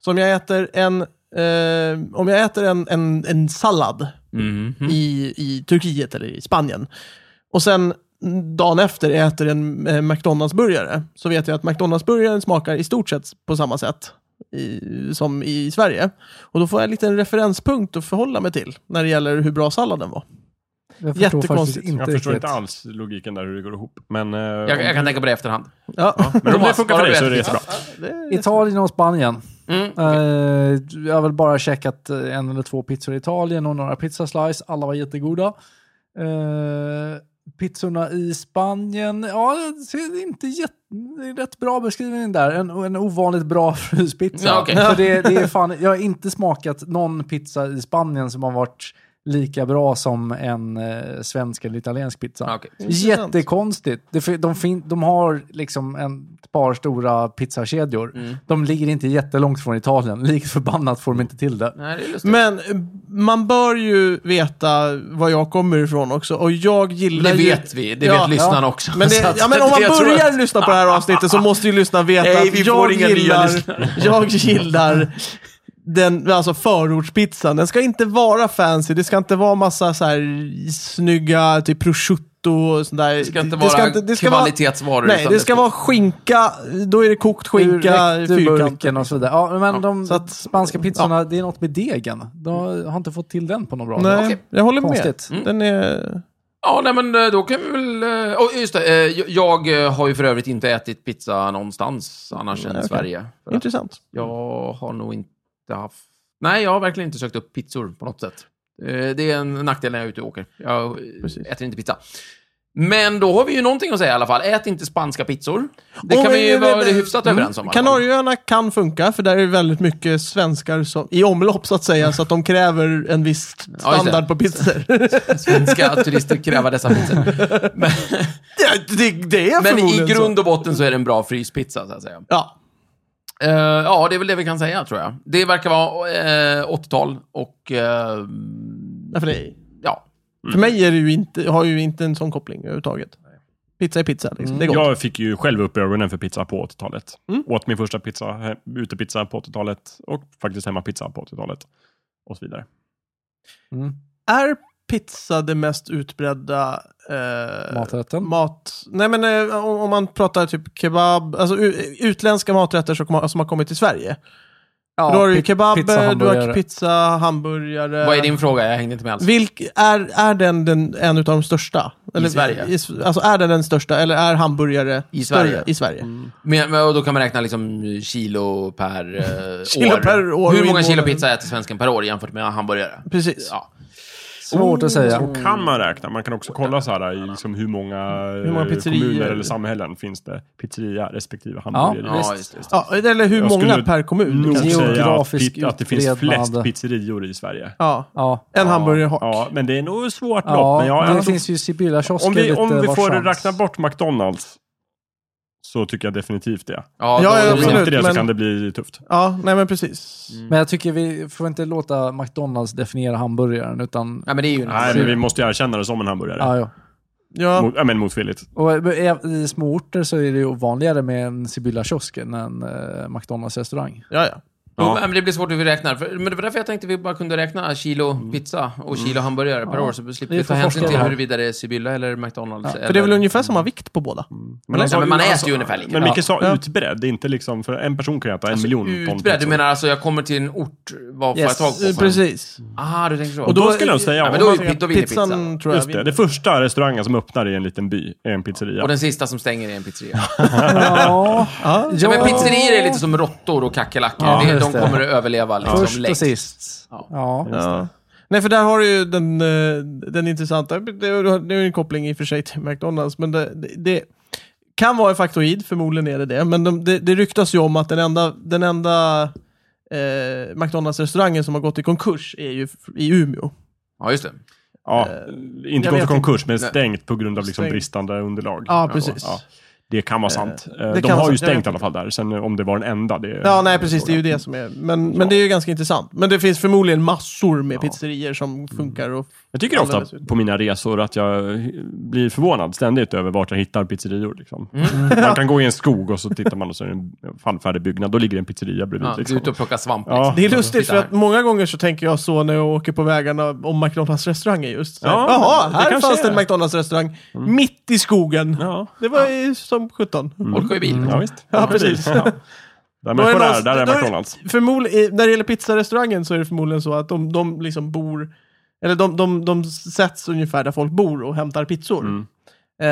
Så om jag äter en, eh, om jag äter en, en, en sallad
Mhm. Mm.
i, i Turkiet eller i Spanien. Och sen dagen efter äter en eh, McDonalds-burgare så vet jag att McDonalds-burgaren smakar i stort sett på samma sätt i, som i Sverige. Och då får jag en liten referenspunkt att förhålla mig till när det gäller hur bra salladen var.
Jag förstår faktiskt
Jättekonstigt.
inte
Jag förstår
riktigt.
inte alls logiken där hur det går ihop. Men, eh,
Jag, jag
om,
kan tänka på det i efterhand.
Ja,
men om det
Thomas,
funkar
bara
för dig så är det
berätta.
jättebra.
Italien och Spanien.
Mm.
Eh, jag har väl bara checkat eh, en eller två pizzor i Italien och några pizzaslice. Alla var jättegoda. Eh, pizzorna i Spanien, ja, det är inte jätte, det är rätt bra beskrivning där. En, en ovanligt bra [LAUGHS] fryspizza.
Ja, okej.
För det, det är fan, jag har inte smakat någon pizza i Spanien som har varit lika bra som en eh, svensk eller italiensk pizza.
Ah, okej.
Intressant.
Jättekonstigt. Det, fin- de, fin, de har liksom en, ett par stora pizzakedjor. De ligger inte jättelångt från Italien. [LAUGHS] Likt förbannat får de inte till det.
Nej, det är lustigt.
Men eh, man bör ju veta var jag kommer ifrån också. Och jag gillar
det
ju...
vet vi. Det
Ja,
vet lyssnarna
ja.
också.
Men, det,
[LAUGHS] Så att-
ja, men om man
jag tror
börjar
att-
lyssna på det
[LAUGHS]
här avsnittet så måste ju lyssnarna veta
Nej, vi
att jag
får inga nya
gillar,
lyssnare.
[LAUGHS] jag gillar den, alltså förortspizzan. Den ska inte vara fancy, det ska inte vara massa så här snygga, typ prosciutto och sånt där.
Det ska inte vara kvalitetsvaror.
Nej,
utan
det ska vara skinka, då är det kokt skinka,
Ur
fyrkant.
burken och så vidare. Ja, men
Ja,
de
så att-
spanska pizzorna, det är något med degen. De har inte fått till den på något bra
Nej,
Okej. Mm.
jag håller
Konstigt.
med. Den är...
Ja, nej, men eh, då kan vi väl... eh, Oh, just det, eh, jag- jag eh, har ju för övrigt inte ätit pizza någonstans annars än i
Nej, Mm, okej.
Sverige. För att
Intressant.
jag
Mm.
har nog inte haft... Nej, jag har verkligen inte sökt upp pizzor på något sätt. Eh, Det är en nackdel när jag är ute och åker. Jag eh,
Precis.
äter inte pizza. Men då har vi ju någonting att säga i alla fall. Ät inte spanska pizzor. Det
Om
kan vi ju vara
vi-
hyfsat
Mm.
överens om. i alla fall.
Kanarieöarna kan funka, för där är väldigt mycket svenskar som, i omlopp så att säga, så att de kräver en viss
Ja, just det.
standard på
[LAUGHS]
pizzor. [LAUGHS]
Svenska turister kräva dessa pizzor. Men,
det, det, det är
men i
förmodligen
grund
så.
och botten så är det en bra fryspizza, så att säga.
Ja,
Eh, ja, det är väl det vi kan säga, tror jag. Det verkar vara eh, 80-tal och... eh,
nej, för, dig.
ja.
för mig är det ju inte, har ju inte en sån koppling överhuvudtaget. Pizza är pizza, liksom. det är gott.
Jag fick ju själv upp ögonen för pizza på 80-talet. Åt min första pizza, he- utepizza på 80-talet och faktiskt hemmapizza på 80-talet. Och så vidare.
Är pizza det mest utbredda eh,
maträtten.
mat... Nej men eh, om, om man pratar typ kebab, alltså u- utländska maträtter som, kom- som har kommit till Sverige.
Ja,
då har du ju
pi-
kebab,
pizza,
eh, du har
hamburgare.
pizza, hamburgare.
Vad är din fråga? Jag hängde inte med alls.
Vilk, är, är den, den en av de största? Eller,
Sverige?
s- alltså är den den största eller är hamburgare
I
större
Sverige. Mm.
I Sverige?
Men, men, och då kan man räkna liksom kilo per
[LAUGHS]
eh,
Kilo
år.
per år
Hur
och
många kilo
invånare.
pizza äter svensken per år jämfört med hamburgare?
Precis.
Ja.
Svårt att säga.
Så kan man räkna. Man kan också kolla så här i liksom hur många, hur
många pizzerior-
kommuner eller samhällen finns det pizzeria respektive hamburgare.
Ja, just det.
Ja, eller hur
Jag
många
skulle
per kommun? liksom?
Nog
kanske.
säga att,
Geografisk
pit, att det finns
utbrednad.
flest pizzerior i Sverige.
Ja,
Ja.
en hamburgare har.
Ja, men det är nog svårt lopp.
Ja,
men jag,
det
jag tror-
finns ju Sibylla-kiosker
om vi, om
lite
vi får
varstans.
räkna bort McDonalds så tycker jag definitivt det.
Ja,
Ja,
då-
ja,
Om
absolut,
inte det så
men-
kan det bli tufft.
Ja, nej men precis.
Mm.
Men jag tycker vi får inte låta McDonalds definiera hamburgaren, utan...
Nej, men det är ju en
Nej, men vi måste ju erkänna det som en hamburgare.
Ja, ja.
Ja,
Mot, ja, men motvilligt.
Och eh, i små orter så är det ju vanligare med en Sibylla-kiosk än en eh, McDonalds-restaurang.
ja, ja.
Jo, men det blir svårt hur vi räknar. För, men det var därför jag tänkte vi bara kunde räkna
Mm.
kilo pizza och kilo hamburgare per år, så slipper
Vi
vi ta
får
hänsyn
forska
till
i det.
huruvida det är Sibylla eller McDonalds. eller... Mm.
För det är väl ungefär alltså, samma vikt på båda?
Men,
Nej, men man äter ju ungefär lika.
alltså, Men
Ja.
Micke sa
Ja.
utbredd. Det är inte liksom, för en person kan ju äta en miljon ton
Utbredd? Du menar alltså, jag kommer till en ort, vad får
Yes,
jag tag på?
Precis.
Ah, du tänker så.
Och
Då skulle jag säga,
Ja, men
om
då
man-
är ju- då vinner pizza.
Pizzan tror jag
just det, det första restaurangen som öppnar i en liten by är en pizzeria.
Och den sista som stänger är en pizzeria.
[LAUGHS] Ja,
Ja.
Ja, men pizzerior är lite som råttor och kackerlackor.
Ja,
Det- de
just det.
kommer att överleva liksom,
Först och
längst.
sist.
Ja.
Ja.
Ja. Nej, för där har du ju den, eh, den intressanta, det det är ju en koppling i och för sig till McDonalds, men det, det, det kan vara en faktoid, förmodligen är det det, men de, det, det ryktas ju om att den enda, den enda eh, McDonalds-restaurangen som har gått i konkurs är ju f- i Umeå.
Ja, just det.
ja, inte gått i
Eh, vet
konkurs, men
Nej.
stängt på grund av liksom
Stängt.
bristande underlag.
Ja, precis.
Ja. Det kan vara sant. Eh,
kan
De
vara
har ju
sant, jag
stängt
vet
i alla fall där. Sen eh, om det var den enda, det
Ja, nej precis, det är ju det som är, men, men det är ju ganska intressant. Men det finns förmodligen massor med pizzerior som funkar och...
Jag tycker ofta
Alldeles
på mina resor att jag blir förvånad ständigt över vart jag hittar pizzerior. Liksom.
Mm.
Man kan gå i en skog och så tittar man och så är det en fallfärdig byggnad. Då ligger en pizzeria bredvid.
Ja, du är
liksom.
ute och plockar svamp.
Ja.
Liksom.
Det är lustigt
Titta
för
här.
att många gånger så tänker jag så när jag åker på vägarna om McDonalds restauranger just. Så här,
Ja,
Jaha,
men det
här
kanske
fanns det en
är.
McDonalds restaurang mitt i skogen.
Ja. Mm.
Det var ju som 17.
Folk har ju bil.
Mm.
Ja, visst.
Ja, precis.
Ja. Där
Då är
människor
det
är,
någon-
där
då
är
är-
McDonalds.
Förmodligen, när det gäller pizzarestaurangen så är det förmodligen så att de, de
Mm.
liksom bor, eller de, de, de sätts ungefär där folk bor och hämtar pizzor. Eh,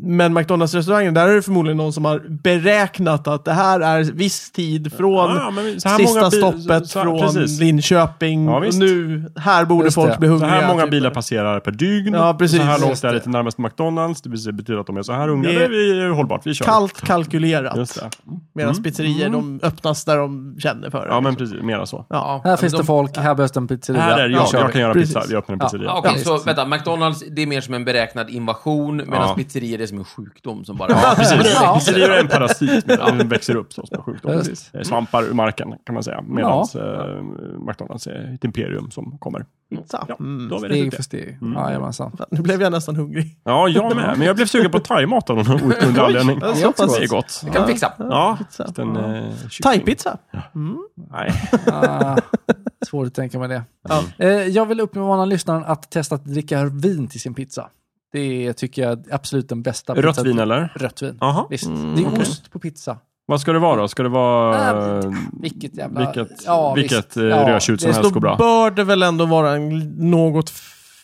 men McDonalds-restaurangen, där är det förmodligen någon som har beräknat att det här är viss tid från
Ja, ja, men så här
sista
många bi-
stoppet
så här-
från
precis.
Linköping.
Ja,
och
visst.
nu, här borde
Just
folk
det.
bli
Så
hungriga.
här många
typ.
bilar passerar per dygn.
Ja, precis.
Så här
Just
långt
det.
är det till närmaste McDonalds. Det betyder att de är så här unga.
Det-
Det är vi är hållbart, vi kör.
Kallt kalkylerat.
Just det. Mm.
Medan pizzerior, de öppnas där de känner för det.
Ja, men precis. Mera så.
ja.
Här finns
men
det folk, här behövs det en pizzeria.
Här är
Nu
jag,
kör
jag
vi.
kan göra
Precis.
pizza. Vi öppnar en
Ja.
pizzeria.
Ja, Okej,
Ja,
så vänta, McDonalds, det är mer som en beräknad invasion, medan
Ja.
pizzerier är som en sjukdom som bara...
Ja, precis.
Ja.
Pizzerior är en parasit, men den växer upp som en sjukdom.
Just.
Precis. Eh, Svampar ur marken, kan man säga. Medan eh, McDonalds är ett imperium som kommer.
Pizza.
Ja,
Mm.
då har vi rätt ut
Steg
det.
för steg. Jajamensan.
Fan, Nu blev jag nästan hungrig.
Ja, jag med. Men jag blev sugen på thaimat av någon outgrundlig anledning.
Ja, så
Jag
pass.
tror
Det är gott.
Det kan vi fixa.
Ja,
Pizza.
den... Eh, kyckling.
Thai-pizza.
Nej.
Ah, svårt att tänka mig det.
Ja.
Eh, jag vill uppmana lyssnaren att testa att dricka vin till sin pizza. Det är, tycker jag är absolut den bästa.
Rött
pizzan.
vin eller?
Rött vin.
Jaha.
Visst.
Mm,
det är
okej.
ost på pizza.
Vad ska det vara då? Ska det vara...
Äh, Vilket jävla...
Vilket,
ja,
vilket
visst.
eh,
Ja,
rödtjut som
det
helst
Då
går bra.
bör det väl ändå vara en något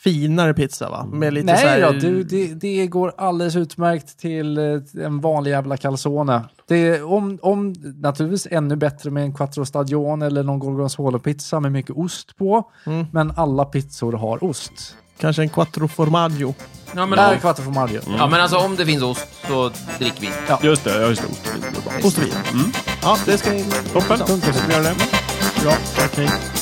finare pizza va? Med lite så här...
Nej då, du, det, det går alldeles utmärkt till eh, en vanlig jävla calzone. Det är om, om, naturligtvis ännu bättre med en quattro stagion eller någon gorgonzola-pizza med mycket ost på.
Mm.
Men alla pizzor har ost.
Kanske en quattro formaggio.
Ja men,
Där är quattro formaggio.
Mm.
ja, men alltså om det finns ost så drick vin.
eh, Just det, ja just det. Ost och vin går bra.
Ostvin. Ja, det ska jag...
Toppen. Då ska vi göra det.
Bra. Okej.